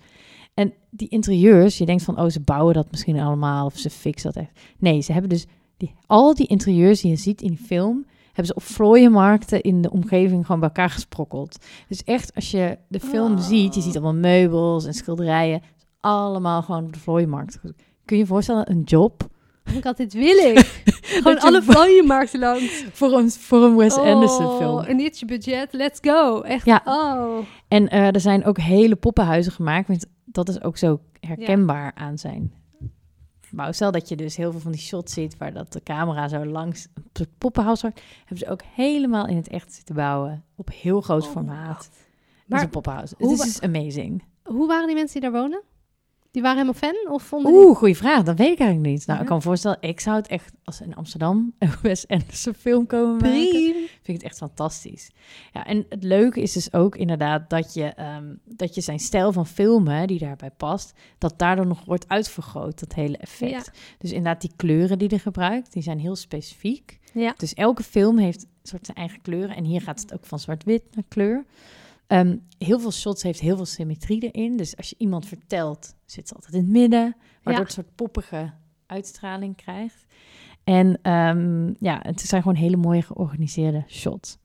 Speaker 2: En die interieurs, je denkt van, oh, ze bouwen dat misschien allemaal of ze fixen dat echt. Nee, ze hebben dus die, al die interieurs die je ziet in die film, hebben ze op vlooienmarkten in de omgeving gewoon bij elkaar gesprokkeld. Dus echt, als je de film
Speaker 1: Oh.
Speaker 2: ziet, je ziet allemaal meubels en schilderijen, allemaal gewoon op de vlooienmarkt. Kun je je voorstellen, een job
Speaker 1: Oh my god, dit wil ik. Gewoon
Speaker 2: Dat je
Speaker 1: alle
Speaker 2: voor-
Speaker 1: vlooienmarkten langs.
Speaker 2: voor een, voor een Wes Anderson
Speaker 1: Oh,
Speaker 2: film?
Speaker 1: En dit is je budget, let's go. Echt,
Speaker 2: Ja.
Speaker 1: oh.
Speaker 2: En eh, er zijn ook hele poppenhuizen gemaakt, want dat is ook zo herkenbaar aan zijn. Maar stel dat je dus heel veel van die shots ziet waar dat de camera zo langs het poppenhuis wordt, hebben ze ook helemaal in het echt zitten bouwen op heel groot
Speaker 1: Oh my
Speaker 2: formaat.
Speaker 1: Maar
Speaker 2: Maar een poppenhuis.
Speaker 1: hoe
Speaker 2: Het is
Speaker 1: wa-
Speaker 2: dus amazing.
Speaker 1: Hoe waren die mensen die daar wonen? Die waren helemaal fan? Of vonden die...
Speaker 2: Oeh, goede vraag. Dat weet ik eigenlijk niet. Nou,
Speaker 1: Ja.
Speaker 2: ik kan me voorstellen, ik zou het echt als ze in Amsterdam een Wes Anderson film komen maken.
Speaker 1: Priem.
Speaker 2: Vind ik het echt fantastisch. Ja, en het leuke is dus ook inderdaad dat je, ehm, dat je zijn stijl van filmen, die daarbij past, dat daardoor nog wordt uitvergroot, dat hele effect. Dus inderdaad, die kleuren die hij gebruikt, die zijn heel specifiek.
Speaker 1: Ja.
Speaker 2: Dus elke film heeft een soort zijn eigen kleuren. En hier gaat het ook van zwart-wit naar kleur. Ehm, heel veel shots heeft heel veel symmetrie erin. Dus als je iemand vertelt, zit ze altijd in het midden. Waardoor
Speaker 1: Ja.
Speaker 2: het een soort poppige uitstraling krijgt. En ehm, ja, het zijn gewoon hele mooie georganiseerde shots.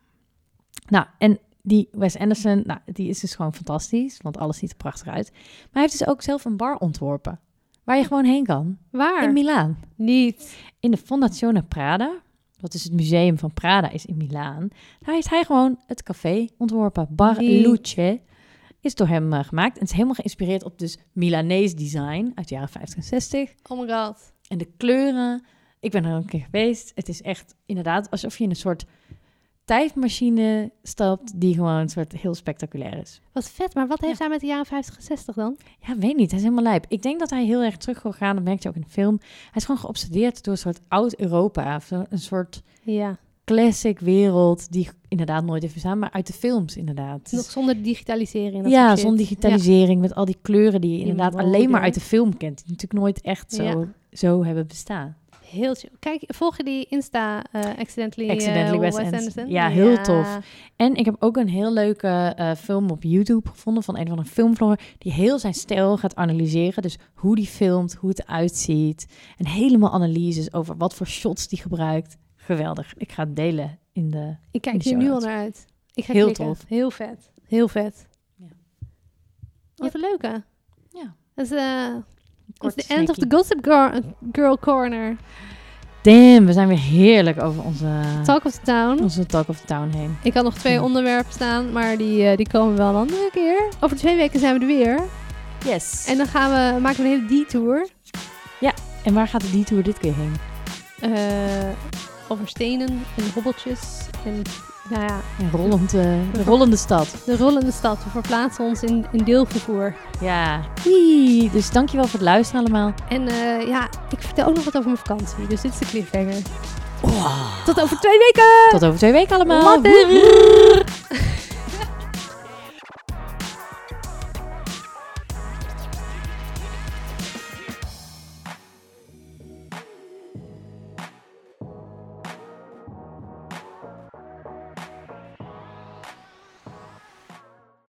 Speaker 2: Nou, en die Wes Anderson, nou, die is dus gewoon fantastisch. Want alles ziet er prachtig uit. Maar hij heeft dus ook zelf een bar ontworpen. Waar je gewoon heen kan.
Speaker 1: Waar?
Speaker 2: In Milaan.
Speaker 1: Niet.
Speaker 2: In de Fondazione Prada. wat dus het museum van Prada is in Milaan, daar heeft hij gewoon het café ontworpen. Bar
Speaker 1: Nee.
Speaker 2: Luce is door hem eh, gemaakt. En het is helemaal geïnspireerd op dus Milanees design uit de jaren 50 en 60.
Speaker 1: Oh my god.
Speaker 2: En de kleuren. Ik ben er een keer geweest. Het is echt inderdaad alsof je in een soort tijdmachine stapt die gewoon een soort heel spectaculair is.
Speaker 1: Wat vet, maar wat heeft
Speaker 2: Ja.
Speaker 1: hij met de jaren 50 en 60 dan?
Speaker 2: Ja, weet niet. Hij is helemaal lijp. Ik denk dat hij heel erg terug wil gaan. Dat merk je ook in de film. Hij is gewoon geobsedeerd door een soort oud-Europa. Of zo- Een soort
Speaker 1: Ja,
Speaker 2: classic wereld die inderdaad nooit heeft bestaan. Maar uit de films inderdaad. Dus
Speaker 1: nog zonder digitalisering. dat
Speaker 2: ja,
Speaker 1: soort shit.
Speaker 2: zonder digitalisering. Met al die kleuren die je
Speaker 1: Die
Speaker 2: inderdaad
Speaker 1: mode.
Speaker 2: alleen maar uit de film kent. Die natuurlijk nooit echt zo,
Speaker 1: Ja.
Speaker 2: zo hebben bestaan.
Speaker 1: Ja, heel chill. Kijk, volg je die Insta eh Accidentally, eh,
Speaker 2: Accidentally Wes
Speaker 1: Wes,
Speaker 2: Anderson.
Speaker 1: Anderson?
Speaker 2: Ja, heel tof. En ik heb ook een heel leuke eh, film op YouTube gevonden van een van een filmvlogger die heel zijn stijl gaat analyseren. Dus hoe die filmt, hoe het uitziet en helemaal analyses over wat voor shots die gebruikt. Geweldig. Ik ga het delen in de.
Speaker 1: Ik
Speaker 2: In
Speaker 1: kijk
Speaker 2: de
Speaker 1: hier
Speaker 2: show
Speaker 1: nu al
Speaker 2: notes.
Speaker 1: naar uit. Ik ga
Speaker 2: Heel
Speaker 1: klikken.
Speaker 2: tof.
Speaker 1: Heel vet. Heel vet.
Speaker 2: Ja.
Speaker 1: Wat een leuke.
Speaker 2: Ja.
Speaker 1: Dat is eh, dat
Speaker 2: korte
Speaker 1: is de end of the
Speaker 2: snackie.
Speaker 1: Gossip Girl, Girl Corner.
Speaker 2: Damn, we zijn weer heerlijk over onze
Speaker 1: Talk of the Town.
Speaker 2: onze talk of the town heen.
Speaker 1: Ik had nog
Speaker 2: Hm.
Speaker 1: twee onderwerpen staan, maar die, eh, die komen wel een andere keer. Over twee weken zijn we er weer.
Speaker 2: Yes.
Speaker 1: En
Speaker 2: En,
Speaker 1: dan gaan we, maken we een hele detour.
Speaker 2: en waar gaat de detour dit keer heen?
Speaker 1: eh, over stenen en hobbeltjes. En nou ja,
Speaker 2: Een rollend, eh, de rollende stad.
Speaker 1: de rollende stad. We verplaatsen ons in, in deelvervoer.
Speaker 2: Ja. Wee. Dus dankjewel voor het luisteren allemaal.
Speaker 1: En eh, ja, ik vertel ook nog wat over mijn vakantie. Dus dit is de cliffhanger.
Speaker 2: Oh.
Speaker 1: Tot over twee weken!
Speaker 2: Tot over twee weken allemaal.
Speaker 1: Later!
Speaker 2: Woe, woe.